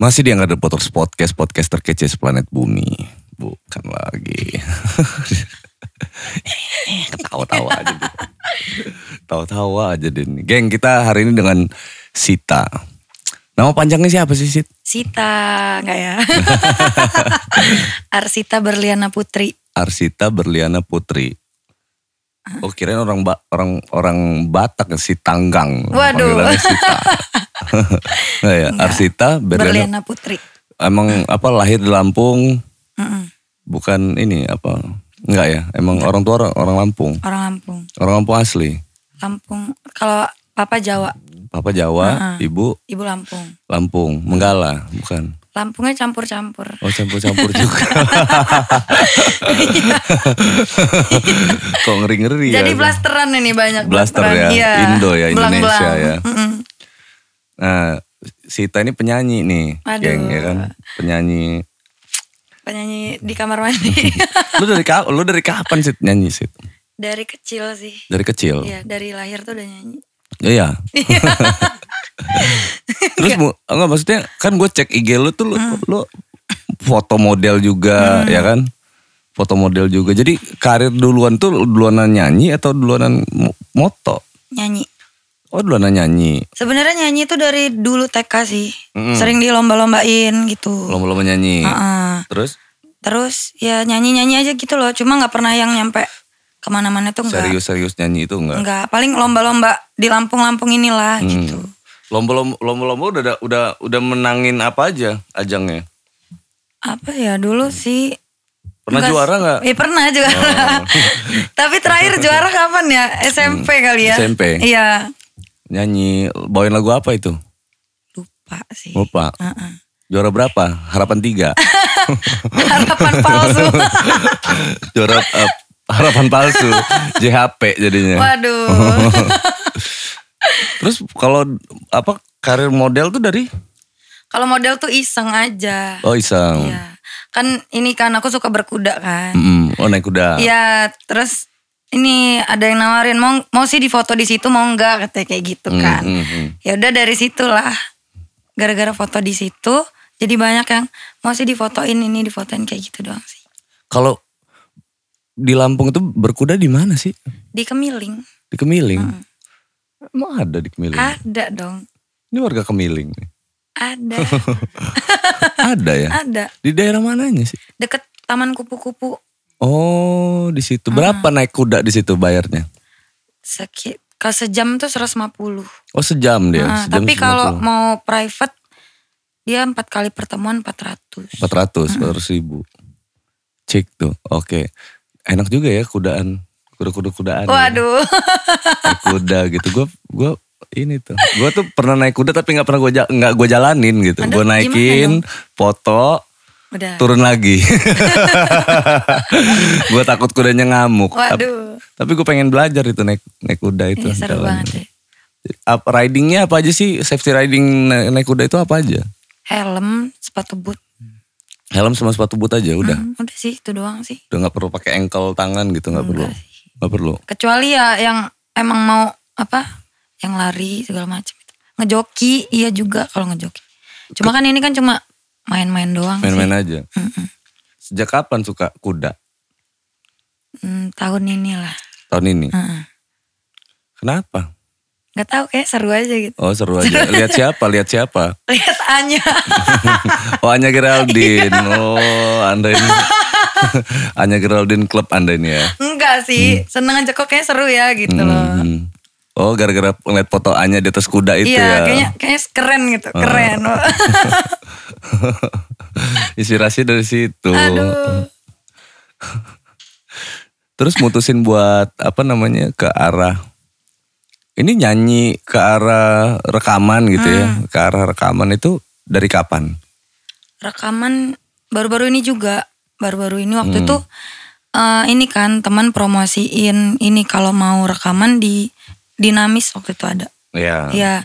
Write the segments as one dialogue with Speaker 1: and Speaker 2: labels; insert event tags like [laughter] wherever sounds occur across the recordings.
Speaker 1: Masih di Angkatan Potters Podcast, podcast terkece planet bumi. Bukan lagi. [laughs] Ketawa-tawa aja. Din. Tawa-tawa aja, Din. Geng, kita hari ini dengan Sita. Nama panjangnya siapa sih, Sit?
Speaker 2: Sita, enggak
Speaker 1: [laughs]
Speaker 2: ya? Arsita Berliana Putri.
Speaker 1: Arsita Berliana Putri. Oh kirain orang ba orang orang Batak si Tanggang.
Speaker 2: Waduh.
Speaker 1: Panggilannya
Speaker 2: [laughs]
Speaker 1: Sita. Nah ya,
Speaker 2: Enggak.
Speaker 1: Arsita Berliana.
Speaker 2: Berliana Putri.
Speaker 1: Emang apa lahir di Lampung?
Speaker 2: Mm-mm,
Speaker 1: Bukan ini apa? Enggak ya. Emang orang tua orang, orang Lampung.
Speaker 2: Orang Lampung.
Speaker 1: Orang Lampung asli.
Speaker 2: Lampung. Kalau Papa Jawa,
Speaker 1: Papa Jawa, ibu
Speaker 2: Ibu Lampung.
Speaker 1: Lampung, Menggala, bukan.
Speaker 2: Lampungnya campur-campur.
Speaker 1: Oh
Speaker 2: [laughs]
Speaker 1: campur-campur juga. Kok ngeri-ngeri ya.
Speaker 2: Iya. Jadi blasteran ini banyak.
Speaker 1: Blaster
Speaker 2: blasteran.
Speaker 1: ya,
Speaker 2: Iya.
Speaker 1: Indo ya,
Speaker 2: Belang-belang.
Speaker 1: Indonesia ya.
Speaker 2: Mm-mm.
Speaker 1: Nah, Sita ini penyanyi nih,
Speaker 2: Aduh.
Speaker 1: geng ya kan, penyanyi.
Speaker 2: Penyanyi di kamar mandi.
Speaker 1: [laughs]
Speaker 2: [laughs]
Speaker 1: Lu dari ka- lu dari kapan sih nyanyi sih?
Speaker 2: dari kecil sih.
Speaker 1: Dari kecil.
Speaker 2: Iya, dari lahir tuh udah nyanyi.
Speaker 1: Iya. [laughs] Terus mu-
Speaker 2: Iya.
Speaker 1: enggak maksudnya kan gue cek IG lu tuh lu,
Speaker 2: Hmm.
Speaker 1: lu foto model juga ya kan? Foto model juga. Jadi karir duluan tuh duluanan nyanyi atau duluanan mo- moto?
Speaker 2: Nyanyi.
Speaker 1: Oh, duluanan nyanyi.
Speaker 2: Sebenarnya nyanyi itu dari dulu TK sih. Sering dilomba-lombain gitu.
Speaker 1: Lomba-lomba nyanyi.
Speaker 2: Heeh.
Speaker 1: Terus
Speaker 2: Terus ya nyanyi-nyanyi aja gitu loh. Cuma nggak pernah yang nyampe kemana-mana tuh enggak.
Speaker 1: serius-serius nyanyi itu enggak?
Speaker 2: Enggak. Paling lomba-lomba di Lampung-Lampung inilah
Speaker 1: Hmm.
Speaker 2: gitu.
Speaker 1: Lomba-lomba lomba-lomba udah ada- udah udah menangin apa aja ajangnya?
Speaker 2: Apa ya dulu sih.
Speaker 1: Hmm. Pernah juara nggak? Oh.
Speaker 2: Eh pernah juara. [laughs] Tapi terakhir juara kapan ya?
Speaker 1: Hmm.
Speaker 2: SMP kali ya?
Speaker 1: SMP.
Speaker 2: Iya.
Speaker 1: Nyanyi bawain lagu apa itu?
Speaker 2: Lupa sih.
Speaker 1: Lupa.
Speaker 2: Heeh.
Speaker 1: Juara berapa? Harapan tiga. [laughs]
Speaker 2: Harapan palsu.
Speaker 1: Juara eh, harapan palsu. JHP jadinya. [laughs]
Speaker 2: Waduh.
Speaker 1: Terus kalau apa karir model tuh dari?
Speaker 2: Kalau model tuh iseng aja.
Speaker 1: Oh Isang.
Speaker 2: Iya. Kan ini kan aku suka berkuda kan.
Speaker 1: Mm-mm. Oh naik kuda.
Speaker 2: Iya, terus ini ada yang nawarin mau mau sih difoto di situ mau nggak katanya kayak gitu
Speaker 1: Hmm.
Speaker 2: kan.
Speaker 1: mm-mm.
Speaker 2: Ya udah dari situlah. Gara-gara foto di situ jadi banyak yang mau sih difotoin ini difotoin kayak gitu doang sih.
Speaker 1: Kalau di Lampung itu berkuda di mana sih?
Speaker 2: Di Kemiling
Speaker 1: Di Kemiling.
Speaker 2: Mm.
Speaker 1: Emang ada di Kemiling?
Speaker 2: ada dong.
Speaker 1: Ini warga Kemiling nih. [laughs]
Speaker 2: Ada,
Speaker 1: ada
Speaker 2: [laughs]
Speaker 1: ya?
Speaker 2: ada.
Speaker 1: Di daerah mananya sih?
Speaker 2: Deket Taman Kupu-kupu
Speaker 1: Oh, di situ.
Speaker 2: Ah.
Speaker 1: Berapa naik kuda di situ bayarnya?
Speaker 2: sekit kalau sejam tuh 150.
Speaker 1: Oh, sejam dia.
Speaker 2: Nah,
Speaker 1: sejam
Speaker 2: tapi kalau mau private dia empat kali pertemuan 400. Ah.
Speaker 1: 400, 400 ribu. Cek tuh. Oke. Enak juga ya kudaan. Kuda-kuda kudaan. ya.
Speaker 2: Waduh. [laughs]
Speaker 1: Naik kuda gitu. Gue gua ini tuh. Gue tuh pernah naik kuda tapi nggak pernah gue nggak gua jalanin gitu.
Speaker 2: Aduh,
Speaker 1: Gue
Speaker 2: gimana
Speaker 1: naikin, foto,
Speaker 2: Udah.
Speaker 1: turun
Speaker 2: [laughs]
Speaker 1: lagi. gue takut kudanya ngamuk. Tapi,
Speaker 2: Waduh.
Speaker 1: gue pengen belajar itu naik naik kuda itu.
Speaker 2: Iya seru
Speaker 1: jalan.
Speaker 2: banget ya.
Speaker 1: Apa ridingnya apa aja sih? Safety riding na- naik kuda itu apa aja?
Speaker 2: Helm, sepatu boot.
Speaker 1: Helm sama sepatu boot aja udah.
Speaker 2: Hmm, udah sih itu doang sih.
Speaker 1: Udah nggak perlu pakai ankle tangan gitu nggak perlu.
Speaker 2: Enggak sih.
Speaker 1: Nggak perlu.
Speaker 2: Kecuali ya yang emang mau apa? Yang lari segala macam itu. Ngejoki iya juga kalau ngejoki. Cuma kan ini kan cuma main-main doang sih.
Speaker 1: Main-main aja.
Speaker 2: Mm-mm.
Speaker 1: Sejak kapan suka kuda?
Speaker 2: Hmm, tahun inilah.
Speaker 1: Tahun ini.
Speaker 2: Heeh.
Speaker 1: Kenapa?
Speaker 2: Gak tahu kayak seru aja gitu. [laughs]
Speaker 1: Oh seru aja. Lihat siapa? Lihat siapa?
Speaker 2: Lihat Anya. [laughs]
Speaker 1: Oh Anya Geraldine.
Speaker 2: Iya.
Speaker 1: Oh Anda ini. [laughs] Anya Geraldine klub Anda ini ya.
Speaker 2: Enggak sih, seneng aja kok kayak seru ya gitu loh.
Speaker 1: Hmm. Oh gara-gara ngeliat foto Anya di atas kuda itu
Speaker 2: Iya,
Speaker 1: ya. [laughs] Ah.
Speaker 2: kayaknya kayaknya keren gitu, keren. [laughs]
Speaker 1: Inspirasi dari situ.
Speaker 2: Aduh.
Speaker 1: Terus mutusin buat apa namanya ke arah ini nyanyi ke arah rekaman gitu ya,
Speaker 2: Hmm.
Speaker 1: ke arah rekaman itu dari kapan?
Speaker 2: rekaman baru-baru ini juga baru-baru ini waktu itu eh, ini kan teman promosiin ini kalau mau rekaman di dinamis waktu itu ada
Speaker 1: Ya.
Speaker 2: ya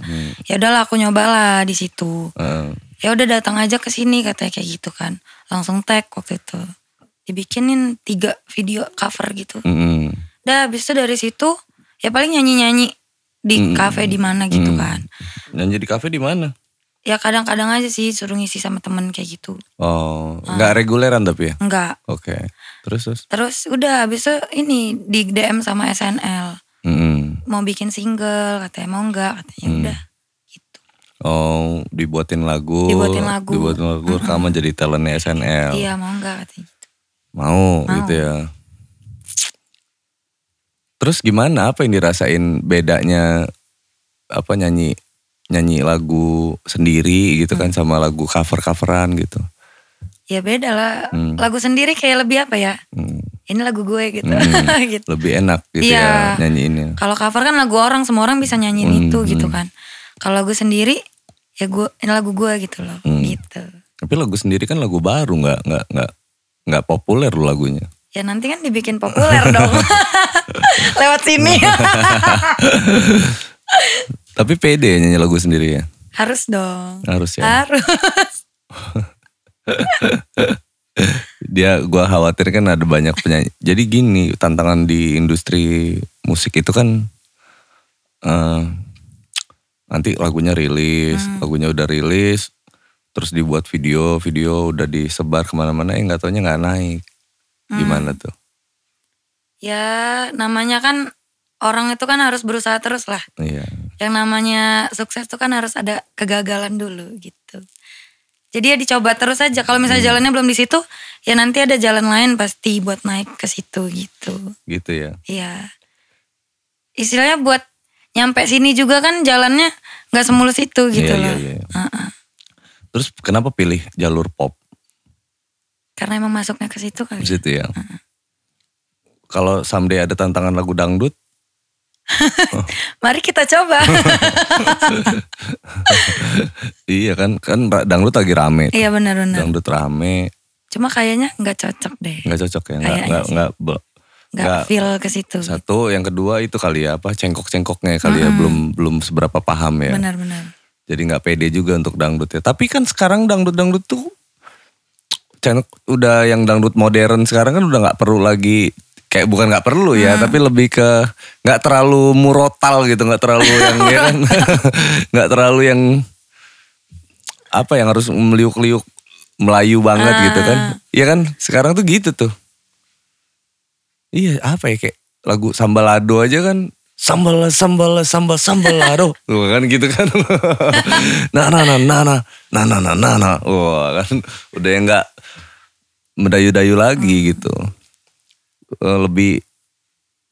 Speaker 2: ya udahlah aku nyobalah di situ
Speaker 1: Eh,
Speaker 2: ya udah datang aja ke sini katanya kayak gitu kan langsung tag waktu itu dibikinin tiga video cover gitu
Speaker 1: mm-mm.
Speaker 2: dah habis itu dari situ
Speaker 1: Hmm.
Speaker 2: ya paling nyanyi-nyanyi di kafe di mana gitu kan
Speaker 1: Nyanyi di kafe di mana?
Speaker 2: ya kadang-kadang aja sih suruh ngisi sama temen kayak gitu.
Speaker 1: Oh, nggak reguleran tapi ya.
Speaker 2: Enggak.
Speaker 1: Oke. Terus terus.
Speaker 2: Terus udah habis itu ini di DM sama SNL.
Speaker 1: Mm-mm.
Speaker 2: Mau bikin single katanya mau enggak katanya
Speaker 1: Hmm.
Speaker 2: udah gitu.
Speaker 1: Oh, dibuatin lagu.
Speaker 2: Dibuatin lagu. Hmm.
Speaker 1: Dibuatin lagu rekaman jadi talentnya SNL.
Speaker 2: Iya mau enggak katanya gitu.
Speaker 1: Mau,
Speaker 2: Mau.
Speaker 1: gitu ya. Terus gimana? Apa yang dirasain bedanya apa nyanyi nyanyi lagu sendiri gitu kan sama lagu cover-coveran gitu.
Speaker 2: Ya beda lah.
Speaker 1: Hmm.
Speaker 2: Lagu sendiri kayak lebih apa ya?
Speaker 1: Hmm,
Speaker 2: Ini lagu gue gitu.
Speaker 1: Hmm.
Speaker 2: [laughs] gitu.
Speaker 1: Lebih enak gitu ya
Speaker 2: Iya.
Speaker 1: nyanyiinnya.
Speaker 2: Kalau cover kan lagu orang semua orang bisa nyanyiin
Speaker 1: Hmm,
Speaker 2: itu gitu kan. Kalau lagu sendiri ya gue ini lagu gue gitu loh
Speaker 1: Hmm.
Speaker 2: gitu.
Speaker 1: Tapi lagu sendiri kan lagu baru nggak nggak nggak nggak populer loh lagunya.
Speaker 2: Ya nanti kan dibikin populer
Speaker 1: [laughs]
Speaker 2: dong. [laughs] Lewat sini.
Speaker 1: Tapi pede ya nyanyi lagu sendiri ya.
Speaker 2: Harus dong.
Speaker 1: Harus ya.
Speaker 2: Harus.
Speaker 1: Dia gua khawatir kan ada banyak penyanyi. Jadi gini, tantangan di industri musik itu kan eh nanti lagunya rilis,
Speaker 2: Hmm.
Speaker 1: lagunya udah rilis, terus dibuat video, video udah disebar kemana-mana, eh nggak taunya nggak naik, gimana
Speaker 2: Hmm.
Speaker 1: tuh?
Speaker 2: Ya namanya kan orang itu kan harus berusaha terus lah.
Speaker 1: Iya,
Speaker 2: Yang namanya sukses itu kan harus ada kegagalan dulu gitu. Jadi ya dicoba terus aja. Kalau misalnya
Speaker 1: Hmm.
Speaker 2: jalannya belum di situ, ya nanti ada jalan lain pasti buat naik ke situ gitu.
Speaker 1: gitu ya.
Speaker 2: Iya. Istilahnya buat nyampe sini juga kan jalannya nggak semulus itu gitu
Speaker 1: Iya,
Speaker 2: loh.
Speaker 1: iya, iya. Terus kenapa pilih jalur pop?
Speaker 2: Karena emang masuknya ke situ kali.
Speaker 1: Di situ ya.
Speaker 2: Hmm.
Speaker 1: Kalau someday ada tantangan lagu dangdut,
Speaker 2: Mari kita
Speaker 1: [laughs]
Speaker 2: coba.
Speaker 1: iya kan kan ra- dangdut lagi rame.
Speaker 2: iya benar-benar.
Speaker 1: Dangdut rame,
Speaker 2: Cuma kayaknya nggak cocok deh.
Speaker 1: nggak cocok ya, nggak
Speaker 2: Kayaknya
Speaker 1: nggak
Speaker 2: sih.
Speaker 1: nggak be- nggak-
Speaker 2: Nggak feel ke situ.
Speaker 1: satu, yang kedua itu kali ya apa cengkok-cengkoknya kali ya belum belum seberapa paham ya.
Speaker 2: Benar-benar.
Speaker 1: Jadi nggak pede juga untuk dangdut ya. Tapi kan sekarang dangdut-dangdut tuh cengkok udah yang dangdut modern sekarang kan udah nggak perlu lagi kayak bukan nggak perlu ya, tapi lebih ke nggak terlalu murotal gitu, nggak terlalu yang ya [laughs] kan, nggak terlalu yang apa yang harus meliuk-liuk Melayu banget gitu kan. Iya kan? Sekarang tuh gitu tuh. Iya, apa ya kayak lagu sambalado aja kan sambal sambal sambal sambalado.
Speaker 2: [laughs]
Speaker 1: Tuh kan gitu kan. [laughs] nah nah nah nah nah nah nah nah nah. nah. Wah, kan udah yang enggak mendayu-dayu lagi
Speaker 2: Hmm.
Speaker 1: gitu. Eh, Lebih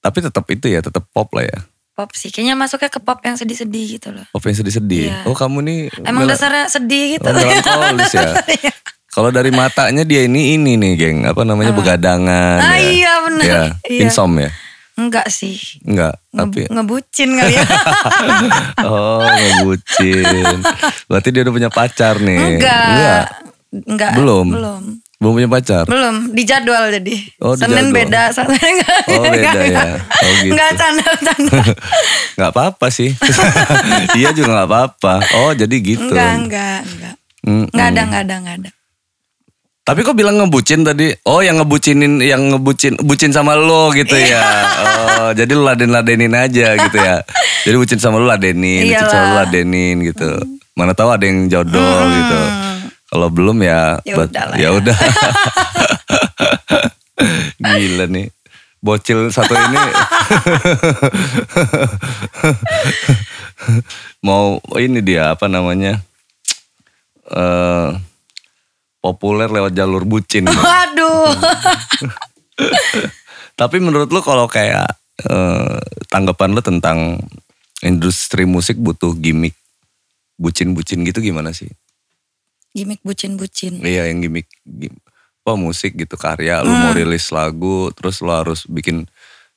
Speaker 1: tapi tetap itu ya, tetap pop lah ya.
Speaker 2: Pop sih. Kayaknya masuknya ke pop yang sedih-sedih gitu loh.
Speaker 1: Pop yang sedih-sedih.
Speaker 2: Iya.
Speaker 1: Oh, kamu nih
Speaker 2: Emang
Speaker 1: mela-
Speaker 2: dasarnya sedih gitu.
Speaker 1: Oh, melankolis
Speaker 2: [laughs]
Speaker 1: ya. Kalau dari matanya dia ini ini nih, geng. Apa namanya begadangan?
Speaker 2: Ah,
Speaker 1: ya.
Speaker 2: iya, benar.
Speaker 1: Ya,
Speaker 2: Iya.
Speaker 1: insom ya.
Speaker 2: Enggak sih.
Speaker 1: Enggak, tapi Iya.
Speaker 2: Nge- ngebucin kali
Speaker 1: [laughs]
Speaker 2: ya. [laughs]
Speaker 1: oh ngebucin. Berarti dia udah punya pacar nih.
Speaker 2: Enggak. Enggak.
Speaker 1: Iya. Belum.
Speaker 2: Belum.
Speaker 1: Belum punya pacar.
Speaker 2: Belum. Dijadwal jadi.
Speaker 1: Oh,
Speaker 2: Senin
Speaker 1: dijadwal.
Speaker 2: beda. Senin [laughs] enggak.
Speaker 1: Oh, beda
Speaker 2: enggak,
Speaker 1: ya.
Speaker 2: enggak.
Speaker 1: Oh, gitu.
Speaker 2: Enggak
Speaker 1: [laughs]
Speaker 2: canda-canda.
Speaker 1: Enggak apa-apa sih. [laughs] iya juga enggak apa-apa. Oh, jadi gitu.
Speaker 2: enggak, enggak, enggak.
Speaker 1: Mm-mm.
Speaker 2: Enggak ada, enggak ada, enggak ada. [laughs]
Speaker 1: Tapi kok bilang ngebucin tadi? Oh, yang ngebucinin yang ngebucin bucin sama lo gitu ya. Oh, jadi lu laden-ladenin aja gitu [laughs] ya. Jadi bucin sama lu ladenin, bucin sama lu ladenin gitu. Mana tahu ada yang jodoh gitu. Kalau belum ya
Speaker 2: Ya
Speaker 1: buat-
Speaker 2: udahlah
Speaker 1: ya [laughs] udah. Gila nih. Bocil satu [laughs] ini mau ini dia apa namanya? eh populer lewat jalur bucin.
Speaker 2: Waduh.
Speaker 1: Hmm. Tapi menurut lu kalau kayak eh, tanggapan lu tentang industri musik butuh gimmick bucin-bucin gitu gimana sih?
Speaker 2: Gimik bucin-bucin.
Speaker 1: Iya yang gimmick gim- apa musik gitu karya lu
Speaker 2: Hmm.
Speaker 1: mau rilis lagu terus lu harus bikin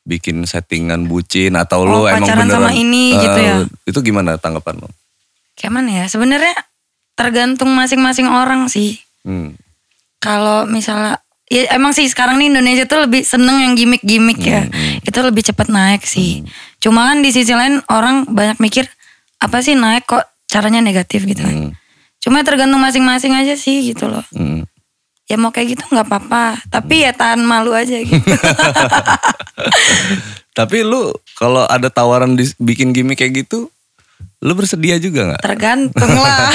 Speaker 1: bikin settingan bucin atau lu
Speaker 2: Oh,
Speaker 1: emang
Speaker 2: pacaran
Speaker 1: beneran
Speaker 2: sama ini gitu
Speaker 1: Eh,
Speaker 2: ya?
Speaker 1: Itu gimana tanggapan lu?
Speaker 2: Kayak mana ya? Sebenarnya tergantung masing-masing orang sih.
Speaker 1: Hmm.
Speaker 2: kalau misalnya ya emang sih sekarang nih Indonesia tuh lebih seneng yang gimmick-gimmick ya itu lebih cepat naik sih cuma kan di sisi lain orang banyak mikir apa sih naik kok caranya negatif gitu kan cuma tergantung masing-masing aja sih gitu loh
Speaker 1: hmm.
Speaker 2: ya mau kayak gitu nggak apa-apa tapi ya tahan malu aja gitu
Speaker 1: Tapi lu kalau ada tawaran dis- bikin gimmick kayak gitu, lu bersedia juga nggak?
Speaker 2: tergantung lah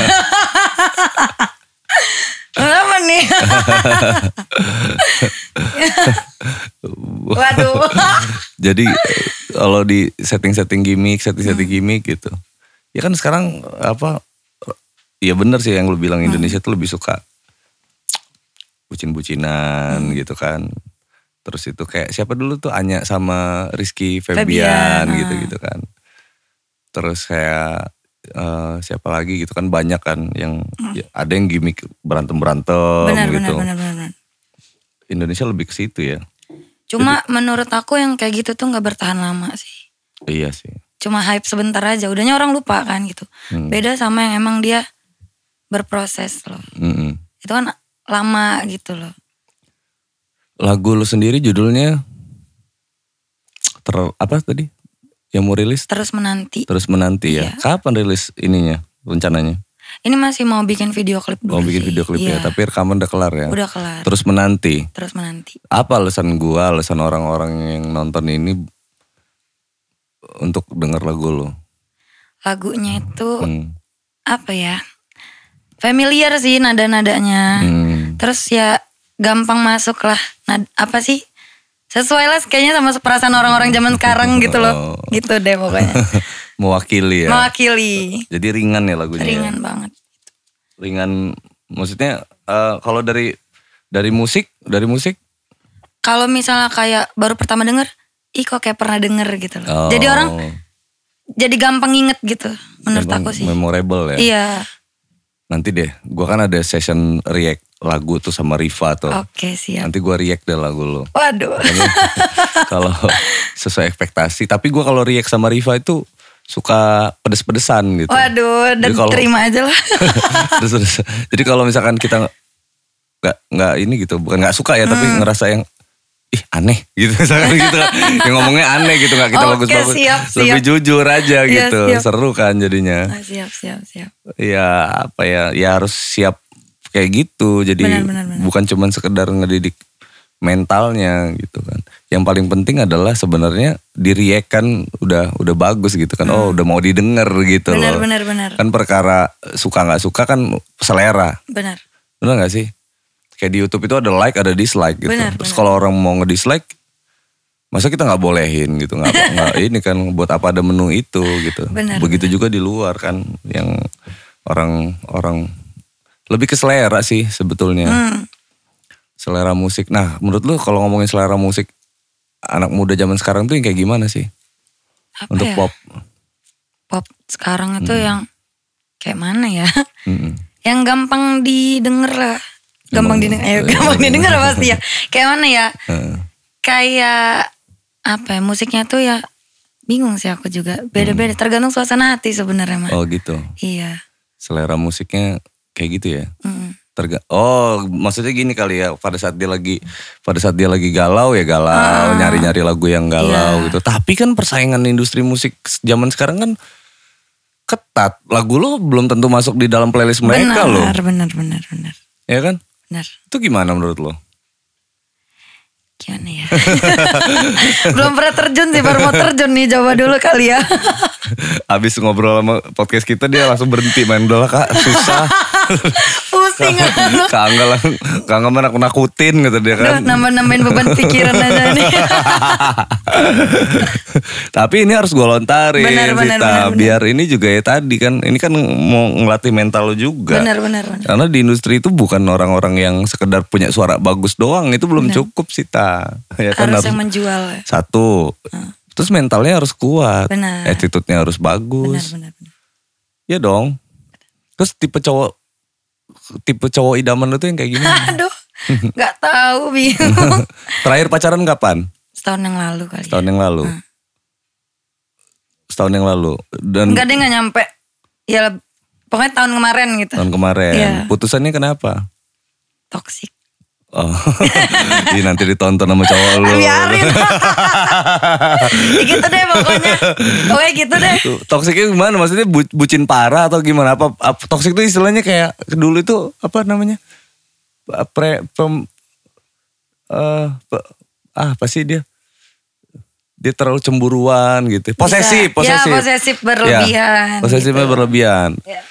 Speaker 2: Waduh.
Speaker 1: Jadi kalau di setting-setting gimmick, setting-setting gimmick gitu. Ya kan sekarang apa ya bener sih yang lu bilang
Speaker 2: Hmm.
Speaker 1: Indonesia tuh lebih suka bucin-bucinan
Speaker 2: Hmm.
Speaker 1: gitu kan. Terus itu kayak siapa dulu tuh Anya sama Rizky Febian
Speaker 2: Febian, ah.
Speaker 1: gitu-gitu kan. Terus kayak eh, siapa lagi gitu kan banyak kan yang ya, ada yang gimmick berantem-berantem
Speaker 2: Hmm. Benar, benar,
Speaker 1: gitu.
Speaker 2: benar, benar, benar.
Speaker 1: Indonesia lebih ke situ ya.
Speaker 2: Cuma menurut aku yang kayak gitu tuh nggak bertahan lama sih.
Speaker 1: Iya sih.
Speaker 2: Cuma hype sebentar aja, udahnya orang lupa kan gitu.
Speaker 1: Hmm.
Speaker 2: Beda sama yang emang dia berproses loh.
Speaker 1: Mm-mm.
Speaker 2: Itu kan lama gitu loh.
Speaker 1: lagu lu sendiri judulnya ter apa tadi yang mau rilis
Speaker 2: Terus menanti.
Speaker 1: terus menanti ya
Speaker 2: Iya.
Speaker 1: kapan rilis ininya rencananya
Speaker 2: Ini masih mau bikin video klip
Speaker 1: mau
Speaker 2: dulu.
Speaker 1: bikin
Speaker 2: sih.
Speaker 1: video klip ya
Speaker 2: Iya,
Speaker 1: tapi rekaman udah kelar ya
Speaker 2: Udah kelar. Terus,
Speaker 1: terus menanti
Speaker 2: menanti.
Speaker 1: apa alasan gua alasan orang-orang yang nonton ini untuk denger lagu lu
Speaker 2: Lagunya itu
Speaker 1: Hmm.
Speaker 2: apa ya? Familiar sih nada-nadanya.
Speaker 1: Hmm. [laughs]
Speaker 2: Terus ya gampang masuk lah. Nah, apa sih? Sesuai lah kayaknya sama perasaan orang-orang zaman sekarang
Speaker 1: Oh.
Speaker 2: gitu loh. Gitu deh
Speaker 1: [laughs]
Speaker 2: pokoknya.
Speaker 1: mewakili ya
Speaker 2: Mewakili.
Speaker 1: jadi ringan ya lagunya ya?
Speaker 2: Ringan banget.
Speaker 1: ringan maksudnya eh, kalau dari dari musik dari musik
Speaker 2: Kalau misalnya kayak baru pertama denger, ih kok kayak pernah denger gitu loh. Jadi orang
Speaker 1: oh,
Speaker 2: jadi gampang inget gitu menurut
Speaker 1: memang
Speaker 2: aku sih.
Speaker 1: memorable ya
Speaker 2: Iya.
Speaker 1: Nanti deh, gua kan ada session react lagu tuh sama Riva tuh.
Speaker 2: Oke, siap.
Speaker 1: Nanti gua react deh lagu lo.
Speaker 2: Waduh.
Speaker 1: kalau sesuai ekspektasi. Tapi gua kalau react sama Riva itu suka pedes-pedesan gitu. [laughs]
Speaker 2: [laughs] Waduh,
Speaker 1: Jadi
Speaker 2: dan
Speaker 1: kalau-
Speaker 2: terima aja lah. [laughs]
Speaker 1: Terus- terus. Jadi kalau misalkan kita nggak nggak ini gitu, bukan nggak suka ya,
Speaker 2: Hmm.
Speaker 1: tapi ngerasa yang ih aneh gitu [laughs] misalkan gitu kan. yang ngomongnya aneh gitu nggak kita
Speaker 2: Oke,
Speaker 1: bagus-bagus
Speaker 2: siap,
Speaker 1: lebih
Speaker 2: siap.
Speaker 1: jujur aja
Speaker 2: Iya,
Speaker 1: gitu
Speaker 2: siap.
Speaker 1: seru kan jadinya
Speaker 2: Ah, siap, siap, siap.
Speaker 1: ya apa ya ya harus siap kayak gitu jadi
Speaker 2: Benar, benar, benar.
Speaker 1: bukan cuman sekedar ngedidik mentalnya gitu kan yang paling penting adalah sebenarnya diriek kan udah udah bagus gitu kan oh udah mau didengar gitu
Speaker 2: Hmm. Benar,
Speaker 1: loh
Speaker 2: benar, benar.
Speaker 1: kan perkara suka nggak suka kan selera
Speaker 2: Benar.
Speaker 1: benar nggak sih kayak di YouTube itu ada like ada dislike gitu
Speaker 2: Benar,
Speaker 1: terus
Speaker 2: benar.
Speaker 1: kalau orang mau ngedislike masa kita nggak bolehin gitu nggak nggak ini kan buat apa ada menu itu gitu
Speaker 2: Benar,
Speaker 1: begitu juga di luar kan yang orang orang lebih ke selera sih sebetulnya
Speaker 2: Hmm.
Speaker 1: selera musik nah menurut lu kalau ngomongin selera musik anak muda zaman sekarang tuh yang kayak gimana sih
Speaker 2: Apa
Speaker 1: untuk
Speaker 2: ya?
Speaker 1: pop Hmm.
Speaker 2: Pop sekarang itu yang kayak mana ya? [laughs]
Speaker 1: Mm-mm.
Speaker 2: yang gampang didengar lah. Gampang didengar, eh, [laughs]
Speaker 1: [laughs]
Speaker 2: gampang didengar pasti ya. Kayak mana ya?
Speaker 1: Heeh.
Speaker 2: Kayak apa ya? Musiknya tuh ya bingung sih aku juga. Beda-beda tergantung suasana hati sebenarnya mah.
Speaker 1: Hmm. oh gitu
Speaker 2: Iya.
Speaker 1: selera musiknya kayak gitu ya
Speaker 2: Mm.
Speaker 1: Terga oh maksudnya gini kali ya pada saat dia lagi pada saat dia lagi galau ya galau nyari nyari lagu yang galau gitu tapi kan persaingan industri musik zaman sekarang kan ketat lagu lo belum tentu masuk di dalam playlist mereka
Speaker 2: Benar,
Speaker 1: loh
Speaker 2: benar, benar, benar.
Speaker 1: ya kan
Speaker 2: Benar.
Speaker 1: itu gimana menurut lo [laughs]
Speaker 2: Gimana ya? [laughs] Belum pernah terjun sih, baru mau terjun nih. Coba dulu kali ya. [laughs]
Speaker 1: abis ngobrol sama podcast kita dia langsung berhenti main udah lah, kak susah
Speaker 2: Pusing.
Speaker 1: kak Angga lang- kak Angga menakut nakutin gitu dia kan
Speaker 2: Aduh, nambah-nambahin beban pikiran aja
Speaker 1: [laughs]
Speaker 2: nih.
Speaker 1: Tapi ini harus gue lontarin
Speaker 2: Benar, benar,
Speaker 1: Sita.
Speaker 2: benar, benar.
Speaker 1: Biar ini juga ya tadi kan Ini kan mau ngelatih mental lo juga
Speaker 2: benar, benar, benar.
Speaker 1: Karena di industri itu bukan orang-orang yang sekedar punya suara bagus doang Itu belum cukup Sita [laughs] ya kan,
Speaker 2: Harus yang
Speaker 1: harus-
Speaker 2: menjual. ya.
Speaker 1: Satu Terus mentalnya harus kuat
Speaker 2: Benar.
Speaker 1: Attitude-nya harus
Speaker 2: Benar,
Speaker 1: bagus
Speaker 2: benar, benar. [laughs]
Speaker 1: Ya dong Terus tipe cowok Tipe cowok idaman lo tuh yang kayak gini
Speaker 2: [laughs] Aduh, nggak tahu
Speaker 1: [laughs]
Speaker 2: bingung.
Speaker 1: Terakhir pacaran kapan?
Speaker 2: Setahun yang lalu kali. ya.
Speaker 1: Setahun yang lalu
Speaker 2: Ah.
Speaker 1: Setahun yang lalu Dan
Speaker 2: Enggak deh nggak nyampe. Ya leb- pokoknya tahun kemarin gitu.
Speaker 1: tahun kemarin.
Speaker 2: Iya.
Speaker 1: Putusannya kenapa?
Speaker 2: Toxic.
Speaker 1: Oh, [laughs] Ih, nanti ditonton sama cowok lu.
Speaker 2: Ah, Biarin. [laughs] ya gitu deh pokoknya. Pokoknya gitu deh.
Speaker 1: Toksiknya gimana? Maksudnya bu- bucin parah atau gimana? Apa, apa toksik itu istilahnya kayak dulu itu apa namanya? Pre, pem, eh, pe- ah, apa sih dia? Dia terlalu cemburuan gitu. Posesif,
Speaker 2: Bisa.
Speaker 1: posesif.
Speaker 2: Ya, posesif Iya. berlebihan
Speaker 1: posesifnya berlebihan.
Speaker 2: Ya.